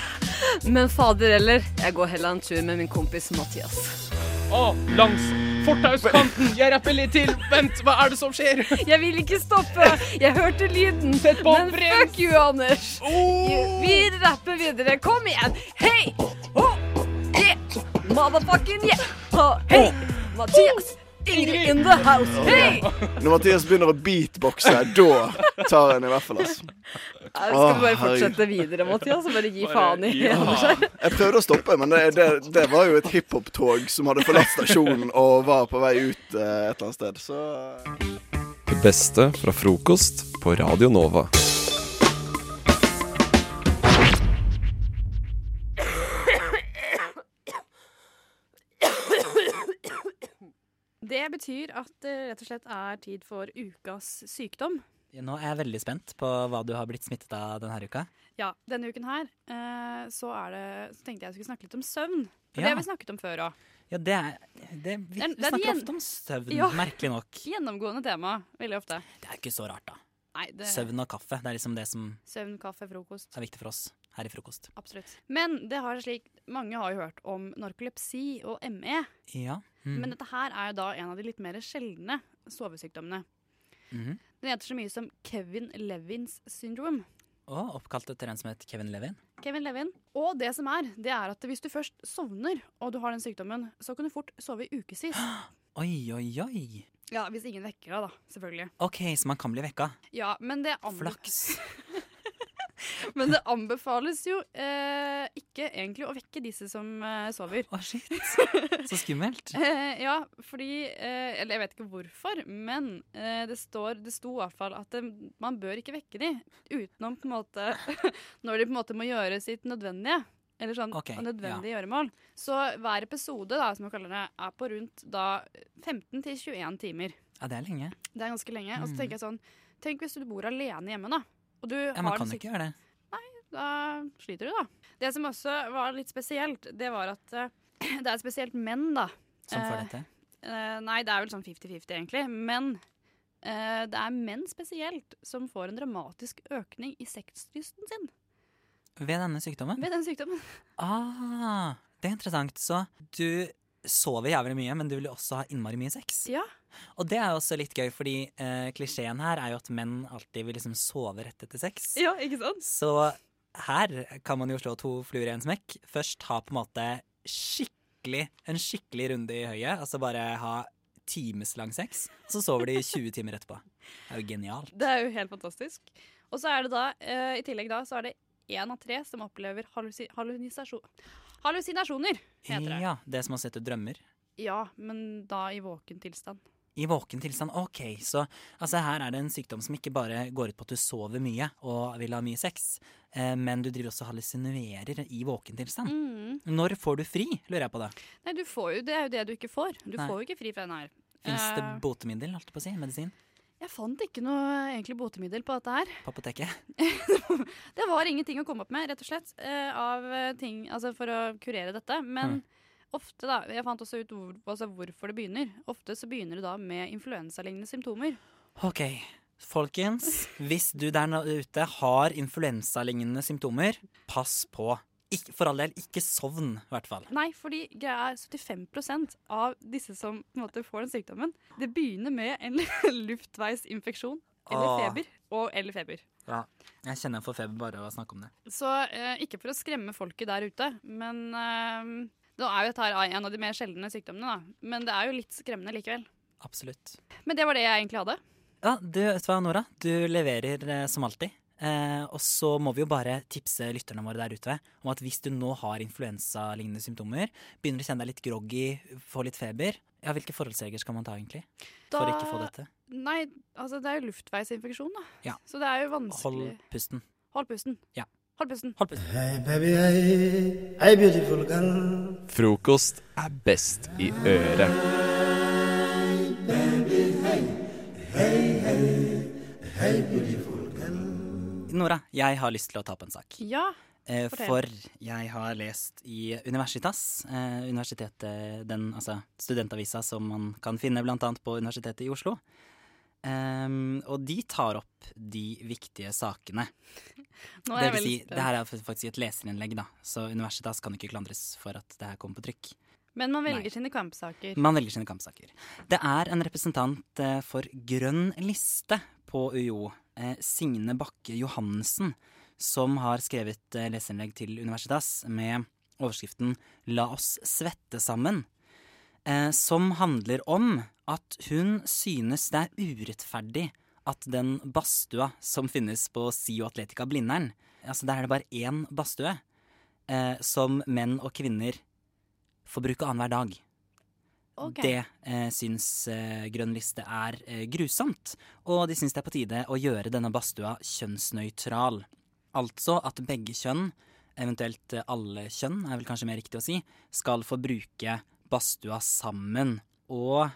Men fader heller, jeg går heller en tur med min kompis Mathias. Å, langs fortauskanten. Jeg rapper litt til. Vent, hva er det som skjer? Jeg vil ikke stoppe. Jeg hørte lyden. Men fuck you, Anders. Oh. Vi rapper videre. Kom igjen. Hei! Oh, yeah. Motherfucking yeah. Oh, hei! Oh. Mathias. Ingrid in the house. Hei! Når Mathias begynner å beatboxe, da tar han i hvert fall, altså. Nei, Skal vi Å, bare herregud. fortsette videre, Mathias? Og bare gi Bare faen i gi faen. Anders her? Jeg prøvde å stoppe, men det, det, det var jo et hiphop-tog som hadde forlatt stasjonen og var på vei ut eh, et eller annet sted, så Det beste fra frokost på Radio Nova. Det betyr at det rett og slett er tid for ukas sykdom. Nå er jeg veldig spent på hva du har blitt smittet av denne uka. Ja, denne uken her eh, så, er det, så tenkte jeg jeg skulle snakke litt om søvn. For Ja. Det har vi snakket om før òg. Ja, det er, det, vi, vi snakker ofte om søvn, merkelig nok. Gjennomgående tema, veldig ofte. Det er ikke så rart, da. Nei, det, Søvn og kaffe, det er liksom det som søvn, kaffe, frokost. er viktig for oss her i frokost. Absolutt. Men det har slik, mange har jo hørt om narkolepsi og ME. Ja. mm, Men dette her er jo da en av de litt mer sjeldne sovesykdommene. Mhm. Den heter så mye som Kevin Levins syndrom. Og oppkalt etter en som het Kevin Levin. Kevin Levin. Og det som er, det er at hvis du først sovner og du har den sykdommen, så kan du fort sove i ukevis. Oi, oi, oi. Ja, hvis ingen vekker deg, da. Selvfølgelig. OK, så man kan bli vekka. Ja, men det anbef- Flaks. Men det anbefales jo eh, ikke egentlig å vekke disse som eh, sover. Å, shit. Så skummelt. Eh, ja, fordi eh, Eller jeg vet ikke hvorfor, men eh, det, står, det sto i hvert fall at eh, man bør ikke vekke de utenom på en måte Når de på en måte må gjøre sitt nødvendige. Eller sånn Ok, nødvendige ja. gjøremål. Så hver episode da, som man kaller det, er på rundt da 15 til 21 timer. Ja, det er lenge. Det er ganske lenge. Og Mm. så tenker jeg sånn Tenk hvis du bor alene hjemme, da. Og du Ja, man har kan den jo sikk- ikke gjøre det. da sliter du, da. Det som også var litt spesielt, det var at eh, det er spesielt menn, da. Som får Eh, dette. eh, nei, det er vel sånn 50-50, egentlig. Men eh, det er menn spesielt som får en dramatisk økning i sexlysten sin Ved denne sykdommen? ved den sykdommen. Ah, det er interessant. Så du sover jævlig mye, men du vil jo også ha innmari mye sex. Ja. Og det er jo også litt gøy, fordi eh, klisjeen her er jo at menn alltid vil liksom sove rett etter sex. Ja, ikke sant? Så her kan man jo slå to fluer i en smekk. Først ha på en måte skikkelig, en skikkelig runde i høyet, altså bare ha timeslang sex. Så sover de i 20 timer etterpå. Det er jo genialt. Det er jo helt fantastisk. Og så er det da, eh, i tillegg da, så er det én av tre som opplever hallusi hallusinasjon... Hallusinasjoner, heter det. Ja, det som å sette drømmer. Ja, men da i våken tilstand. I våken tilstand, ok. Så altså, her er det en sykdom som ikke bare går ut på at du sover mye og vil ha mye sex, eh, men du driver også og hallusinerer i våken tilstand. Mm. Når får du fri, lurer jeg på da. Nei, du får jo, det er jo det du ikke får. Du Nei. får jo ikke fri fra den her. Fins det Eh, botemiddel, holdt jeg på å si? Medisin? Jeg fant ikke noe egentlig botemiddel på dette her. På apoteket? Det var ingenting å komme opp med, rett og slett, eh, av eh, ting, altså for å kurere dette. Men ofte, da Jeg fant også ut hvor, altså hvorfor det begynner. Ofte så begynner det da med influensalignende symptomer. Ok, folkens. Hvis du der nå- ute har influensalignende symptomer, pass på. Ikk- for all del, ikke sovn, i hvert fall. Nei, fordi greia er 75 av disse som på en måte får den sykdommen, det begynner med en luftveisinfeksjon eller Åh. feber. Og eller feber. Ja, jeg kjenner jeg får feber bare av å snakke om det. Så eh, ikke for å skremme folket der ute, men eh, Nå er jo dette her en av de mer sjeldne sykdommene, da. Men det er jo litt skremmende likevel. Absolutt. Men det var det jeg egentlig hadde. Ja, du, vet du hva, Nora? Du leverer eh, som alltid. Eh, og så må vi jo bare tipse lytterne våre der ute om at hvis du nå har influensalignende symptomer, begynner å kjenne deg litt groggy, får litt feber, ja, hvilke forholdsregler skal man ta egentlig? For å ikke få dette? Nei, altså det er jo luftveisinfeksjon, da. Ja. Så det er jo Hold vanskelig pusten. Hold pusten. Ja. Hold pusten. Hold pusten. Hei, baby, hei. Hei, beautiful girl. Frokost er best i øret. Nora, jeg har lyst til å ta opp en sak. Ja. Eh, fortell. for jeg har lest i Universitas, eh, universitetet, den, altså studentavisa som man kan finne bl.a. på Universitetet i Oslo. Ehm, og de tar opp de viktige sakene. Nå er jeg det vil veldig si, spent. det her er faktisk et leserinnlegg, da, så Universitas kan ikke klandres for at det her kom på trykk. Men man velger sine kampsaker. Man velger sine kampsaker. Det er en representant eh, for Grønn liste på UiO, eh, Signe Bakke Johannessen, som har skrevet eh, leserinnlegg til Universitas med overskriften 'La oss svette sammen', eh, som handler om at hun synes det er urettferdig at den badstua som finnes på SIO Atletica Blindern, altså der er det bare én badstue, eh, som menn og kvinner får bruke annenhver dag. Ok. Det eh, syns eh, Grønn liste er eh, grusomt, og de syns det er på tide å gjøre denne badstua kjønnsnøytral. Altså at begge kjønn, eventuelt eh, alle kjønn er vel kanskje mer riktig å si, skal få bruke badstua sammen. Og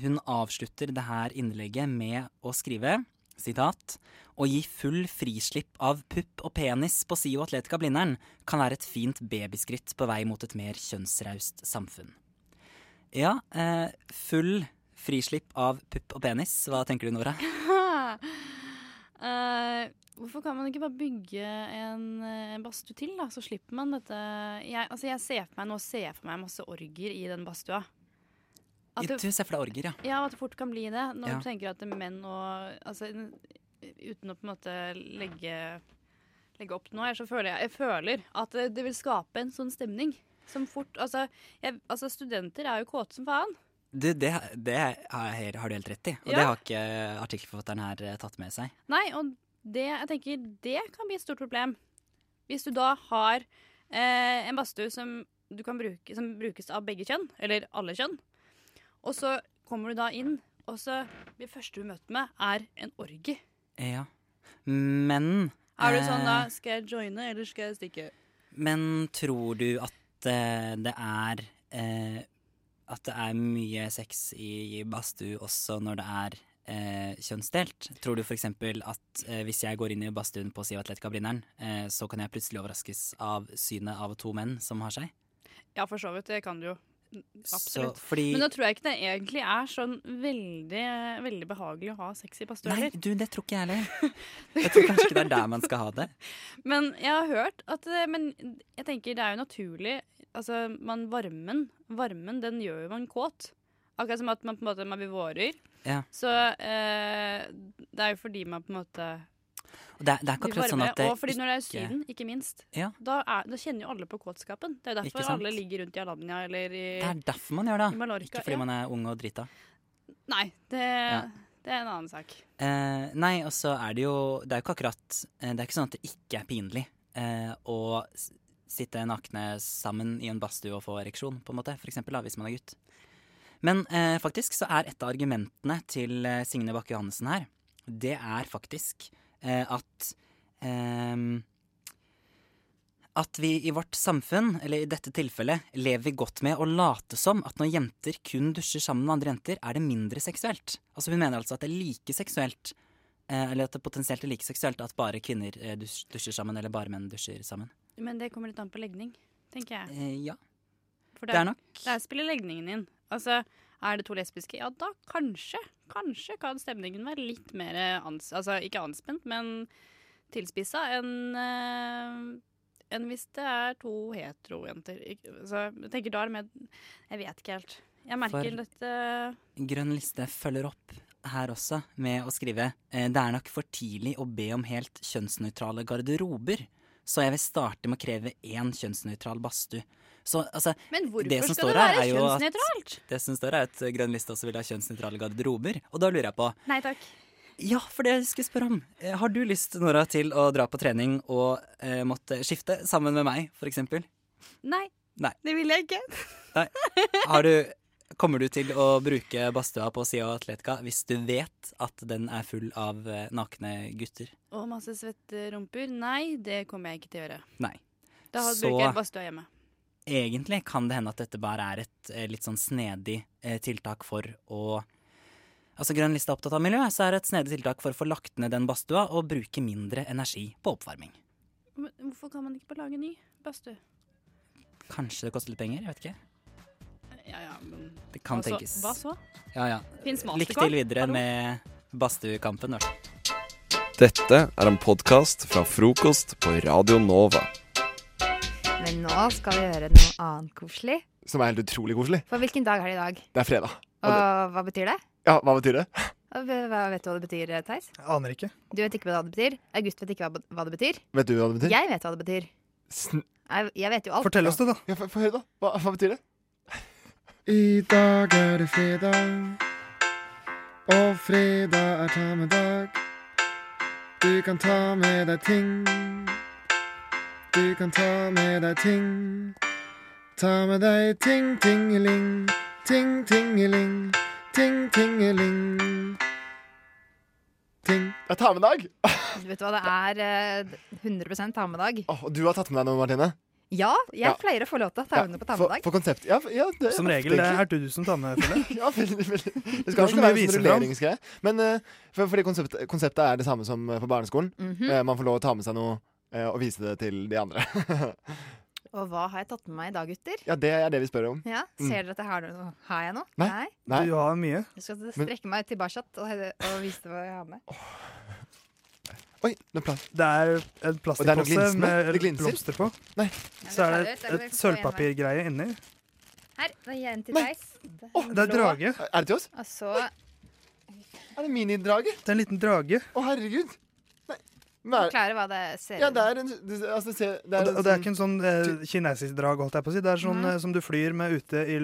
hun avslutter det her innlegget med å skrive Sitat, å gi full frislipp av pupp og penis på SIO Atletica Blindern kan være et fint babyskritt på vei mot et mer kjønnsraust samfunn. Ja, eh, full frislipp av pupp og penis. Hva tenker du, Nora? Eh, hvorfor kan man ikke bare bygge en, eh, en badstue til, da? Så slipper man dette jeg, altså, jeg ser for meg, Nå ser jeg for meg masse orger i den badstua. At Du det- ser for deg orger, ja. Ja, at det fort kan bli det. Når Ja. du tenker at menn og altså, n- Uten å på en måte legge, legge opp noe her, så føler jeg, jeg føler at det- det vil skape en sånn stemning. Som fort Altså, jeg, altså studenter er jo kåte som faen. Du, det, det har, jeg- har du helt rett i, og Ja. det har ikke artikkelforfatteren her eh, tatt med seg. Nei, og Det, jeg tenker, det kan bli et stort problem. Hvis du da har eh, en badstue som, du kan bruke, som brukes av begge kjønn, eller alle kjønn, og så kommer du da inn, og så blir første du møter med, er en orgi. Ja. Men Er du eh, sånn da Skal jeg joine, eller skal jeg stikke? Men tror du at eh, det er eh, At det er mye sex i badstue også når det er eh, kjønnsdelt? Tror du f.eks. at eh, hvis jeg går inn i badstuen på Sivatletka-blinderen, eh, så kan jeg plutselig overraskes av synet av to menn som har seg? Ja, for så vidt. Det kan du jo. Absolutt. Så, fordi- Men da tror jeg ikke det egentlig er sånn veldig, veldig behagelig å ha sex i badstue Nei, heller. du, det tror ikke jeg heller. Jeg tror kanskje ikke det er der man skal ha det. Men jeg har hørt at eh, Men jeg tenker det er jo naturlig Altså, man varmen Varmen, den gjør jo man kåt Akkurat som at man på en måte Man blir vårer Ja. Så eh, det er jo fordi man på en måte Og det, er- det er ikke blir akkurat sånn varme, at det Og fordi når det er ikke- syden, ikke minst Ja. da, er, da kjenner jo alle på kåtskapen Det er jo Ikke derfor sant? alle ligger rundt i Alanya Eller i Det er derfor man gjør det. I Mallorca, ikke fordi ja. man er ung og drita. Nei, det, Ja. det er en annen sak Eh, nei, og så er det jo Det er jo ikke akkurat eh, Det er ikke sånn at det ikke er pinlig eh, å s- sitte nakne sammen i en badstue og få ereksjon, på en måte. For eksempel, da, hvis man er gutt. Men eh, faktisk så er et av argumentene til eh, Signe Bakke Johansen her, det er faktisk eh, at ehm, at vi i vårt samfunn, eller i dette tilfellet, lever godt med å late som at når jenter kun dusjer sammen med andre jenter, er det mindre seksuelt. Altså Hun mener altså at det er like seksuelt, eh, eller at det potensielt er like seksuelt at bare kvinner eh, dus- dusjer sammen, eller bare menn dusjer sammen. Men det kommer litt an på legning, tenker jeg Eh, ja. For Det er nok. Der spiller legningen inn. Altså, er det to lesbiske? Ja, da kanskje. Kanskje kan stemningen være litt mer ans altså, ikke anspent, men tilspissa enn eh, enn hvis det er to heterojenter. Ik- Altså, jeg tenker da er det mer Jeg vet ikke helt. Jeg merker eh, For- dette Grønn liste følger opp her også med å skrive eh, Det er nok for tidlig å be om helt kjønnsnøytrale garderober, så jeg vil starte med å kreve én kjønnsnøytral badstue. Så altså Men hvorfor som skal står det her være er jo at- kjønnsnøytralt? Det som står, er at Grønn liste også vil ha kjønnsnøytrale garderober, og da lurer jeg på Nei takk. ja, for det jeg skulle spørre om. eh, Har du lyst, Nora, til å dra på trening og eh, måtte skifte sammen med meg, for eksempel? Nei, Nei. det vil jeg ikke. Nei. Har du, kommer du til å bruke badstua på Sia Atletica hvis du vet at den er full av eh, nakne gutter? Og masse svette rumper. Nei, det kommer jeg ikke til å gjøre. Nei. Da har- Så- bruker jeg badstua hjemme. Egentlig kan det hende at dette bare er et eh, litt sånn snedig eh, tiltak for å Altså Grønn liste er opptatt av miljø, så er det et snedig tiltak for å få lagt ned den badstua og bruke mindre energi på oppvarming. Men hvorfor kan man ikke bare lage en ny badstue? Kanskje det koster litt penger, jeg vet ikke. Ja, ja, men Det kan hva så- tenkes. Altså, Hva så? Ja, ja. Finnes Lykke Mastercard? til videre med badstuekampen. da. Dette er en podkast fra frokost på Radio Nova. Men nå skal vi gjøre noe annet koselig. Som er helt utrolig koselig. For hvilken dag er det i dag? Det er fredag. Og hva betyr det? Ja, hva betyr det? Og v- Hva vet du hva det betyr, eh, Theis? Aner ikke. Du vet ikke hva det betyr. August vet ikke hva, hva det betyr. Vet du hva det betyr? Jeg vet hva det betyr. Sn- Jeg, jeg vet jo alt. Fortell oss det, da. Ja, Få få høre, da. Hva, hva betyr det? I dag er det fredag, og fredag er ta med dag. Du kan ta med deg ting. Du kan ta med deg ting. Ta med deg ting, tingeling. Ting, tingeling. Ting, tingeling. Ting. Jeg tar med dag. Du vet hva det er eh, 100 ta med dag. Og du har tatt med deg noe, Martine? Ja, jeg Ja. pleier å få lov til å ta med noe på ta med For, dag. for konsept. Ja, ja, det, Som regel det er du som tar med Pelle. ja, veldig, veldig. Det har skal så ikke mye å være sånn vise fram. rulleringsgreie. Men eh, for, fordi konseptet, konseptet er det samme som eh, på barneskolen. Mhm. Eh, man får lov å ta med seg noe eh, og vise det til de andre. Og hva har jeg tatt med meg i dag, gutter? ja, det er det vi spør om. Ja, Mm. Ser dere at jeg har noe? Har jeg noe? Nei. Nei. Du har mye. Jeg skal Men- strekke meg tilbake og, og vise deg hva jeg har med. Oi, noe plast. Det er en Og det er noe plastpose glinsende. med Det glinser. blomster på. Så er det et, et sølvpapirgreie inni. Her, det er en til Theis. Det er drage. Er det til oss? Og så Er det minidrage? Det er en liten drage. Å, herregud. Nei. Men er, Forklare hva det ser ja, ut det er en det, altså, det ser, det Og er det, en og det er sånn- ikke en sånn eh, kinesisk drag, holdt jeg på å si. Det er sånn Nei. Mm. eh, som du flyr med ute i,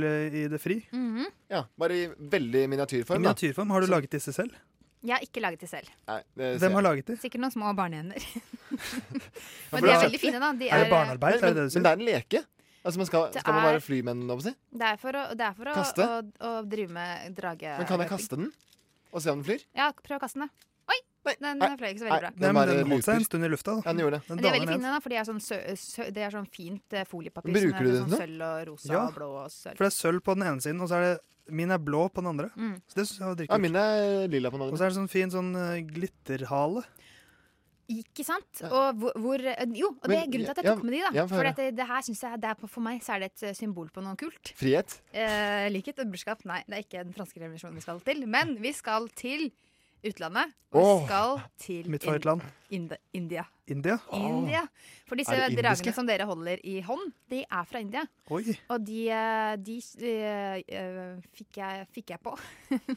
i det fri. mhm. Ja, bare i veldig miniatyrform. I da. miniatyrform. Har du laget disse selv? Jeg har ikke laget de selv. Nei, det Hvem har laget de? Sikkert noen små barnehender. Ja, Men for de det er er- veldig fine, da. De Er er, det barnearbeid? eh, Er det det du sier? Men det er en leke. Altså, man skal, Det skal man er- være flymenn, holdt jeg på å si? Det er for å, det er for å, Kaste? å, å drive med drage... Men kan jeg kaste den? Og se om den flyr? Ja, prøv å kaste den. da. Oi! Den, den fløy ikke så Nei, veldig bra. den Nei, bare men den holdt seg en looper. stund i lufta. Ja, den gjorde det. Men de er veldig fine, da, for de er sånn, sø, sø, det er sånn fint eh, foliepapir. som Bruker er du sånn den til Sølv og rosa Ja, og blå og sølv. For det er sølv på den ene siden, og så er det Min er blå på den andre. Mm. Så det synes jeg var Ja, dritkult. min er lilla på den Og andre. så er det sånn fin sånn eh, glitterhale. Ikke sant? Og hvor, hvor eh, Jo, og det er Men- grunnen til at jeg ja, tok med de, da. ja, få for høre. at det, det her synes jeg det er på, For meg så er det et eh, symbol på noe kult. Frihet. Eh, likhet og bursdag. Nei, det er ikke den franske revolusjonen vi skal til. Men vi skal til utlandet. Og Åh, vi skal til mitt favorittland. Ind Ind India. India. India. For disse Er det indiske? dragene som dere holder i hånd, de er fra India. Oi. Og de, eh, de, eh, eh, fikk, jeg, fikk jeg på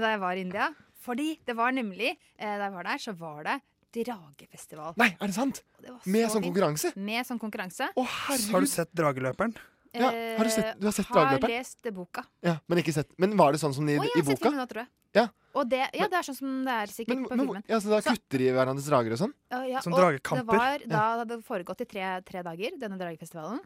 da jeg var i India. Fordi det var nemlig eh, Da jeg var der, så var det dragefestival. Nei, er det sant? Det var Med så sånn fint. konkurranse? Med sånn konkurranse. Har du sett Drageløperen? Ja, har du sett- du har sett Eh, Drageløperen? Har lest boka. Ja, men ikke sett. Men var det sånn som de, Å, jeg i har sett boka? filmen nå, tror jeg. Ja. Og det, ja, det er sånn som det er sikkert på Men, filmen. ja, så da kutter de i hverandres drager og sånn? Ja, ja, Sånn og dragekamper. Det var, da Ja. hadde det foregått i tre, tre dager, denne dragefestivalen.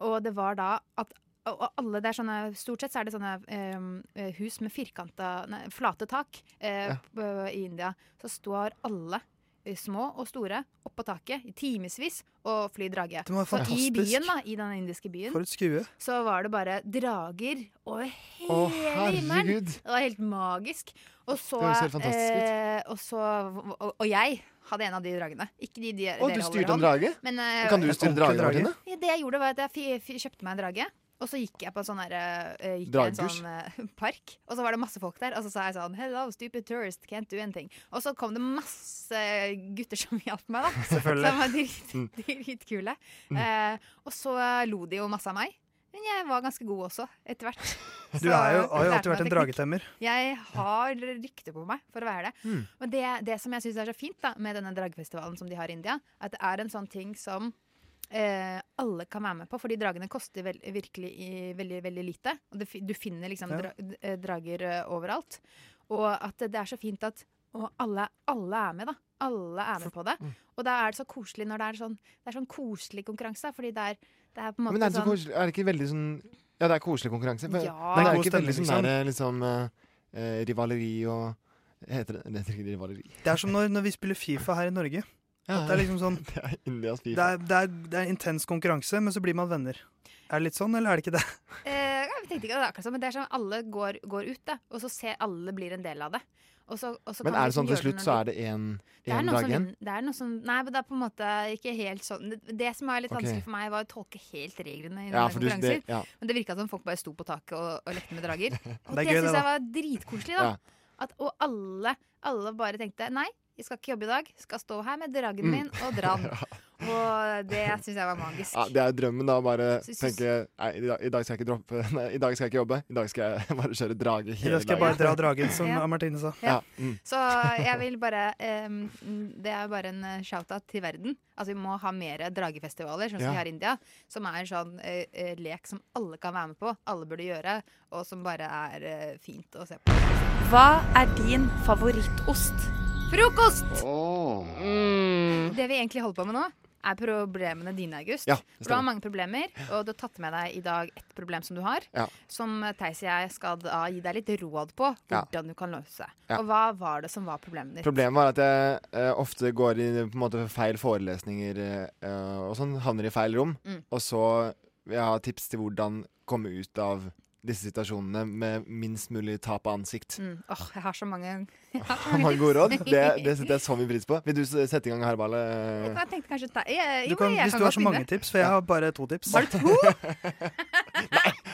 Og det var da at og og alle det er sånne, Stort sett så er det sånne eh, eh, hus med firkanta, nei, flate tak eh, Ja. p- eh, i India. Så står alle, eh, små og store, oppå taket i timevis og flyr drage. Det var Så i fantastisk. byen, da, i den indiske byen, For et skue. så var det bare drager over Å, hele himmelen. herregud. Det var helt magisk. Og så, Det høres helt fantastisk ut. eh, og, så og, og jeg hadde en av de dragene. Ikke de, de Å, dere du holder styrte i en hånd. drage? Men, eh, Kan du En styre ordentlig dragen, drage? Martine? ja, det jeg gjorde, var at jeg fi- fi- kjøpte meg en drage. Og så gikk jeg på en sånn der, eh, gikk i en Dragkurs? sånn eh, park, og så var det masse folk der. Og så sa jeg sånn Hello, stupid tourist, can't do anything. Og så kom det masse gutter som hjalp meg, da. Selvfølgelig. Mm. Som var drit- dritkule. Eh, og så lo de jo masse av meg. Men jeg var ganske god også, etter hvert. Du Så er jo, lærte har meg jo alltid vært en teknikk. dragetemmer. Jeg har rykte på meg for å være det. Mm. Men det, det som jeg syns er så fint da, med denne dragfestivalen som de har i India, at det er en sånn ting som eh, alle kan være med på. Fordi dragene koster vel, virkelig i, veldig, veldig lite. Og det, fi- du finner liksom Ja. dra, d- eh, drager eh, overalt. Og at det er så fint at og alle, alle er med, da. Alle er med på det. mm. Og da er det så koselig når det er sånn, det er sånn koselig konkurranse. Fordi det er, det er på en måte Men er det, så sånn koselig, er det ikke veldig sånn Ja, det er koselig konkurranse. For, Ja. Men det Det er er god ikke veldig stemning, sånn der, liksom eh, eh, rivaleri og Heter det det heter ikke rivaleri? Det er som når, når vi spiller Fifa her i Norge. At det er liksom sånn Det er Indias det Fifa. er, det, er, det er intens konkurranse, men så blir man venner. Er det litt sånn, eller er det ikke det? Eh, jeg tenkte ikke at det er akkurat sånn, men det er sånn alle går, går ut, da, og så ser alle blir en del av det. Og så, og så Men er kan liksom det sånn til slutt så er det det én det er, noe dag som, igjen? lin- det er noe som Nei, men det er på en måte ikke helt sånn Det, det som var litt Ok. vanskelig for meg, var å tolke helt reglene i Ja, sånne for du- konkurranser. det- ja. Men det virka som folk bare sto på taket og, og lekte med drager. Og Det er det, gøy, det, synes da. jeg var dritkoselig, da. Ja. At, og alle, alle bare tenkte nei, jeg skal ikke jobbe i dag, skal stå her med Mm. dragen min og dra den. Og det syns jeg var magisk. Ja, det er drømmen, da. Bare Så jeg synes- tenke Nei, i dag, i dag skal jeg ikke droppe Nei, i dag skal jeg ikke jobbe. I dag skal jeg bare kjøre drage Eller hele skal jeg bare dra dragen, som Ja. Martine sa? Ja. Mm. Så jeg vil bare em, Det er bare en eh, shout-out til verden. Altså Vi må ha mer dragefestivaler, sånn som Ja. vi har i India. Som er en sånn eh, eh, lek som alle kan være med på, alle burde gjøre, og som bare er eh, fint å se på. Hva er din favorittost? Frokost! Mm. Det vi egentlig holder på med nå, er problemene dine, August. Ja, det For du har stemmer. mange problemer, og du har tatt med deg i dag ett problem som du har. Ja. Som eh, Theis og jeg skal da gi deg litt råd på Ja. hvordan du kan løse. Ja. Og hva var det som var problemet ditt? Problemet var at jeg eh, ofte går i på en måte, feil forelesninger eh, og sånn. Havner i feil rom. Mm. Og så vil jeg ha tips til hvordan komme ut av disse situasjonene med minst mulig tap av ansikt. Mm. Åh, jeg har så mange jeg har så Mange gode råd. tips. Det, det setter jeg så mye pris på. Vil du s- sette i gang, eh? Herbale? Jeg tenkte kanskje ta, jeg, Du Eh, jo, kan, jeg hvis kan du har godt begynne. så mange tips, for jeg har bare to tips. Har du to?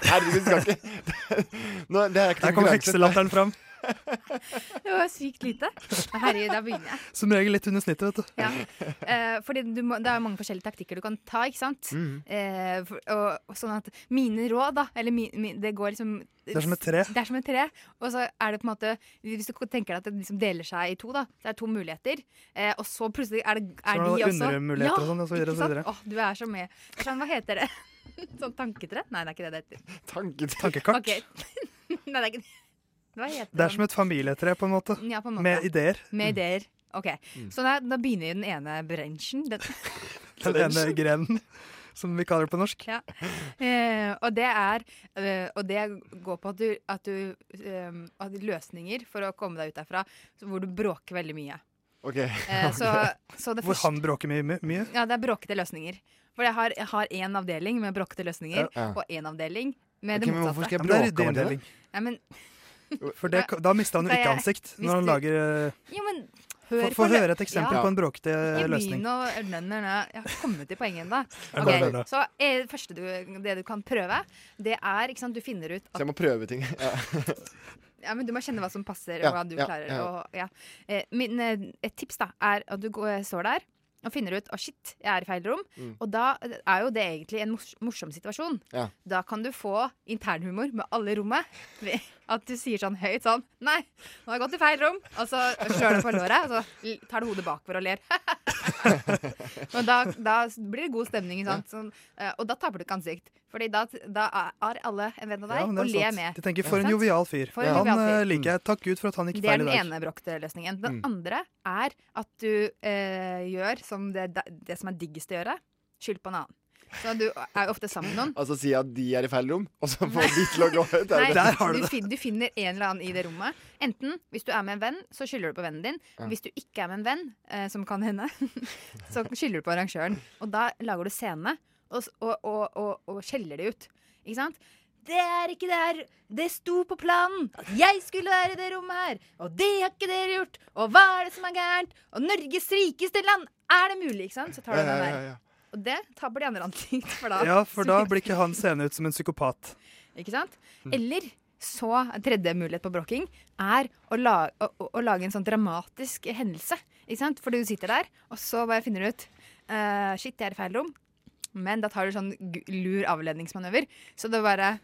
Herregud, skal ikke Nå, det er ikke Der kom konkurranse. hekselatteren fram. Det var sykt lite. Men Herregud, da begynner jeg. Som regel litt under snittet, vet du. Ja. Eh, fordi du må, det er mange forskjellige taktikker du kan ta, ikke sant? Mhm. Eh, for, og, og sånn at mine råd, da, eller mi, mi, det går liksom Det er som et tre. Det er som et tre. Og så er det på en måte Hvis du tenker deg at det liksom deler seg i to, da, så er det to muligheter. Eh, og så plutselig er det er Så er det de også undermuligheter og sånn, og så videre, ikke og så videre. sant? Åh, du er så med. Det er Sånn, hva heter det? sånn tanketre? Nei, det er ikke det det heter. Tanke, tankekart. Ok. Nei, det er ikke det. Hva heter Det er den? som et familietre, på en måte. Ja, på en måte. Med ideer. Med ideer. Ok, Mm. Så da, da begynner den ene bransjen. Den, Den ene grenen, som vi kaller det på norsk. ja. eh, og det er eh, Og det går på at du, at du eh, at løsninger for å komme deg ut derfra så hvor du bråker veldig mye. Ok. Eh, så, så det Hvor første han bråker mye. mye- mye. Ja, det er bråkete løsninger. For jeg har- jeg har én avdeling med bråkete løsninger, Ja. og én avdeling med Ok, det men motsatte. hvorfor skal jeg Ja, men det er bråke om ryddig det? inndeling. Ja, men, For det, da mister han jo Da ikke jeg- ansikt. hvis Når han du- lager eh, jo, men Få- hør få på lø- høre et eksempel på en bråkete Ikke løsning. begynn å nø, nø, nø. Jeg har kommet til poenget ennå. Er det bare det? så eh, det første du, det du kan prøve, det er ikke sant, Du finner ut Så jeg må prøve ting. Ja. ja, men Du må kjenne hva som passer, Ja, og hva du ja, klarer. ja. Og, ja. eh, min, eh, et tips da, er at du går, står der og finner ut at shit, jeg er i feil rom. Mm. Og da eh, er jo det egentlig en mors morsom situasjon. Ja. Da kan du få internhumor med alle i rommet. Ved At du sier sånn høyt sånn Nei, nå har jeg gått i feil rom. Og så slår du på låret, og så l- tar du hodet bakover og ler. Men da, da blir det god stemning. Sant? Sånn, eh, og da taper du ikke ansikt. Fordi da, da er alle en venn av Ja, deg men det er og ler sant. med. De tenker 'for en Sant? jovial fyr'. For en Han jovial fyr. eh, liker jeg. Takk Gud for at han gikk Det er feil i den dag. ene bråkete løsningen. Den Mm. andre er at du eh, gjør som det, det som er diggest å gjøre. Skyld på en annen. Så du er jo ofte sammen med noen. Altså si at de er i feil rom, og så får de til å gå ut. Nei, Der har du, du det. fin- du finner en eller annen i det rommet. Enten hvis du er med en venn, så skylder du på vennen din. Ja. Hvis du ikke er med en venn, eh, som kan hende, så skylder du på arrangøren. Og da lager du scene, og, s- og, og, og, og skjeller det ut. Ikke sant? Det er ikke det her! Det sto på planen at jeg skulle være i det rommet her! Og det har ikke dere gjort! Og hva er det som er gærent? Og Norges rikeste land! Er det mulig? Ikke sant? Så tar du Ja, ja, den ja, der. ja. Og det tabber de andre ansikt for da. Ja, for da blir ikke han seende ut som en psykopat. Ikke sant? Mm. Eller så tredje mulighet på bråking er å, la, å, å- å lage en sånn dramatisk hendelse. Ikke sant? For du sitter der, og så bare finner du ut eh, Shit, jeg er i feil rom. Men da tar du sånn gu- lur avledningsmanøver. Så det bare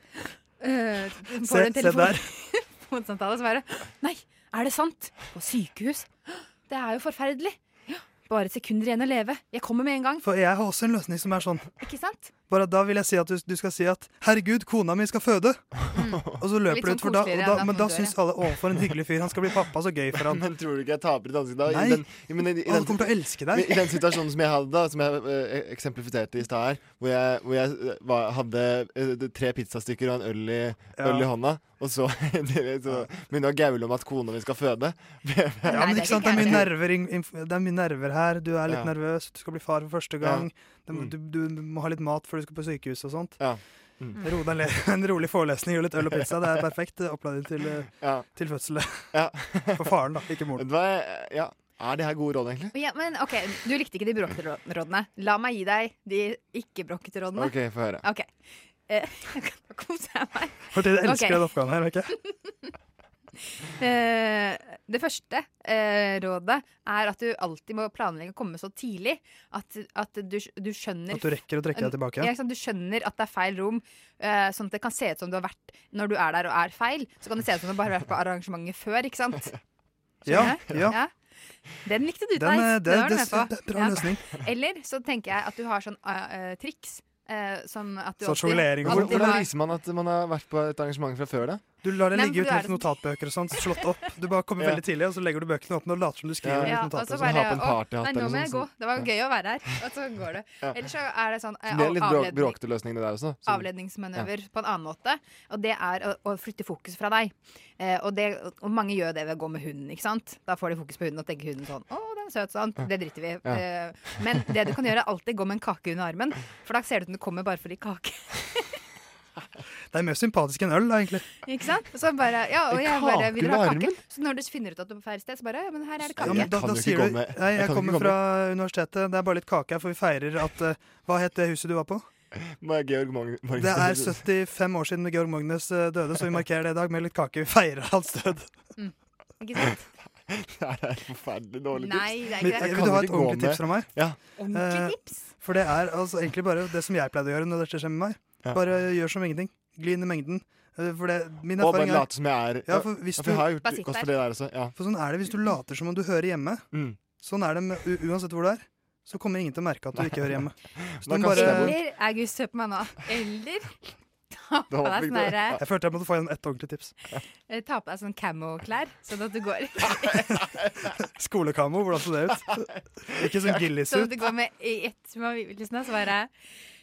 eh, Se- Får du en se telefon der. på en samtale, så bare Nei, er det sant? På sykehus? Det er jo forferdelig. Ja, Bare sekunder igjen å leve. Jeg kommer med en gang. For jeg har også en løsning som er sånn. Ikke sant? Bare at Da vil jeg si at du, du skal si at 'herregud, kona mi skal føde'. Mm. Og så Litt løper du sånn ut, for da, og koseligere enn da, at men hun da dør, syns alle 'å, for en hyggelig fyr', han skal bli pappa, så gøy for han. Men tror du ikke jeg taper i dansing da? I Nei. den- i- men i- i den- Alle kommer til å elske deg. Men I den situasjonen som jeg hadde da, som jeg eh, eksemplifiserte i stad her, hvor jeg, hvor jeg eh, var, hadde eh, d- tre pizzastykker og en øl i, Ja. øl i hånda, og så, så begynner jeg å gaule om at kona mi skal føde. Ja, men ikke sant, det er mye nerver, inn- inn- det er mye nerver her. Du er litt Ja. Mm. nervøs, du skal bli far for første gang. Det må- Du, du må ha litt mat før du skal på sykehus og sånt. Ro deg ned. En rolig forelesning og litt øl og pizza, det er perfekt eh, oppladning til, eh, til fødselen. For faren, da, ikke moren. eh, Ja. Er det her gode råd, egentlig? Ja, men ok, Du likte ikke de bråkete rå- rådene. La meg gi deg de ikke-bråkete rådene. OK, få høre. Ok. Eh, Nå koser jeg meg. Fordi jeg elsker Ok. den oppgaven her, ikke Eh, det første eh, rådet er at du alltid må planlegge å komme så tidlig at, at du, du skjønner At du rekker å trekke deg tilbake igjen. Ja, ikke sant? Du skjønner at det er feil rom, eh, sånn at det kan se ut som du har vært Når du er der og er feil, så kan det se ut som du bare har vært på arrangementet før, ikke sant? Ja, Skjønner? ja. Den likte du, Den, Theis. eh, det- Den var du det- med på. det er bra løsning. Eller så tenker jeg at du har sånn eh, eh, triks. eh, som at du Sånn alltid- sjonglering og alltid sånn. har- Hvordan viser man at man har vært på et arrangement fra før, da? Du lar det Nei, men ligge du ut er litt det- notatbøker og sånt, slått opp. Du bare kommer Ja. veldig tidlig, og så legger du bøkene opp og later som du skriver. Ja, litt og notater så og sånt. bare å, Nei, nå må jeg gå. Det var gøy å være her. Og så går du. liksom, Ja. Eller så er det sånn eh, Det er litt brå- avledning, bråkete løsning, det der også. Så- avledningsmanøver på en annen måte. Og det er å, å flytte fokus fra deg. Eh, og, det, og mange gjør det ved å gå med hunden, ikke sant. Da får de fokus på hunden og tenker hunden sånn å, den er søt, sant. Det driter vi i. Ja. Eh, men det du kan gjøre, er alltid gå med en kake under armen. For da ser det ut som du kommer bare for litt kake. Det er mer sympatisk enn øl, da, egentlig. Ikke sant? Så bare, ja, og En jeg bare kake vil ha under kake. armen? Så når du finner ut at du er på feil sted, så bare ja, men her er det Ja, kake. men da, da sier du, nei, jeg, kan ikke kommer komme. fra universitetet, det er bare litt kake her, for vi feirer at eh, Hva het det huset du var på? Må jeg Georg Mag- Magnus Det er 75 år siden Georg Magnus eh, døde, så vi markerer det i dag med litt kake. Vi feirer hans død. Ikke sant? Det her er forferdelig dårlig tips. Nei, det er Men, ikke det. eh, vil du ha et ordentlig tips fra meg? Ja. Ordentlig Eh, tips? For det er altså egentlig bare det som jeg pleide å gjøre når dette skjer med meg. Ja. Bare gjør som ingenting. Gli inn i mengden. Eh, For det, min Og bare erfaring er late som jeg er- Ja, for hvis Ja, du for jeg har gjort Bare sitt kost for der. det der også, ja. Mm. For sånn er det hvis du later som om du hører hjemme. Sånn er det med, u uansett hvor du er. Så kommer ingen til å merke at du ikke hører hjemme. Så Da du må kaster jeg bare bort. Eller August, hør på meg nå. Eller Ta på deg sånn derre- Jeg følte jeg måtte få igjen ett ordentlig tips. eh, Ta på deg sånn camo-klær, sånn at du går Skolekamo, hvordan så det ut? Ikke sånn Sånn at gillis-ut. du går med i ett med omgivelsene, så bare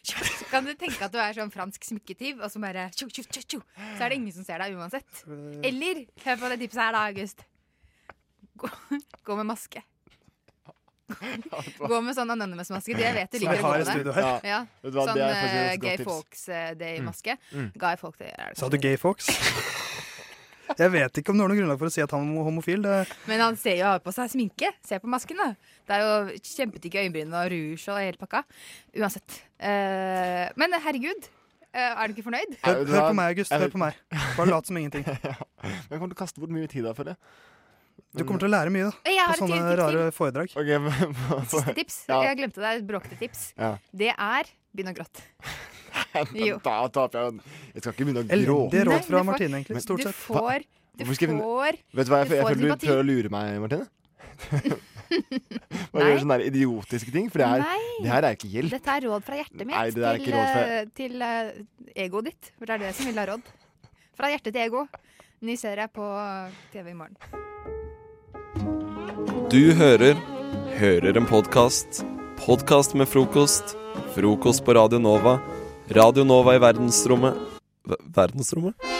Så kan du tenke at du er sånn fransk smykketyv, og så bare tjo, tjo, tjo, tjo. Så er det ingen som ser deg uansett. Eller hør på det tipset her, da, August. Gå, gå med maske. Gå med sånn Anonymous-maske. Det vet du Som liker jeg å har gå i med. studio her. Ja. Vet du hva, Sånn det er faktisk eh, et godt gay eh, tips. folks-day-maske. Mm. Gay folk day er det. Sa du gay folks? Jeg vet ikke om det var noe grunnlag for å si at han var homofil. Det, Men han ser jo har på seg sminke. Se på masken, da. Det er jo kjempetykke øyenbryn og rouge og hele pakka. Uansett. Eh, men herregud, eh, er du ikke fornøyd? hør, hør på meg, August. Hør på meg. Bare lat som ingenting. Men jeg kommer til å kaste bort mye tid der, føler jeg. Du kommer til å lære mye da, Jeg har på et sånne tips til. rare foredrag. Siste tips. Jeg glemte det. er Et bråkete tips. Ja. Det er begynn å gråte. Jo. Da taper jeg. Jeg skal ikke begynne å Elendige gråte. råd Nei, fra du får- Martine, egentlig, Men- stort sett. du får- du Hvorfor skal jeg begynne- Vet får- du hva, jeg, du jeg får føler du sympati. prøver å lure meg, Martine. Bare gjør sånne der idiotiske ting, for det, er, Nei. det her er ikke hjelp. Dette er råd fra hjertet mitt Nei, det er ikke til, råd fra- eh, til eh, egoet ditt. For det er det som vil ha råd. Fra hjerte til ego. Ny serie på eh, TV i morgen. Du hører Hører en podkast. Podkast med frokost. Frokost på Radio Nova. Radio Nova i verdensrommet Ver- Verdensrommet?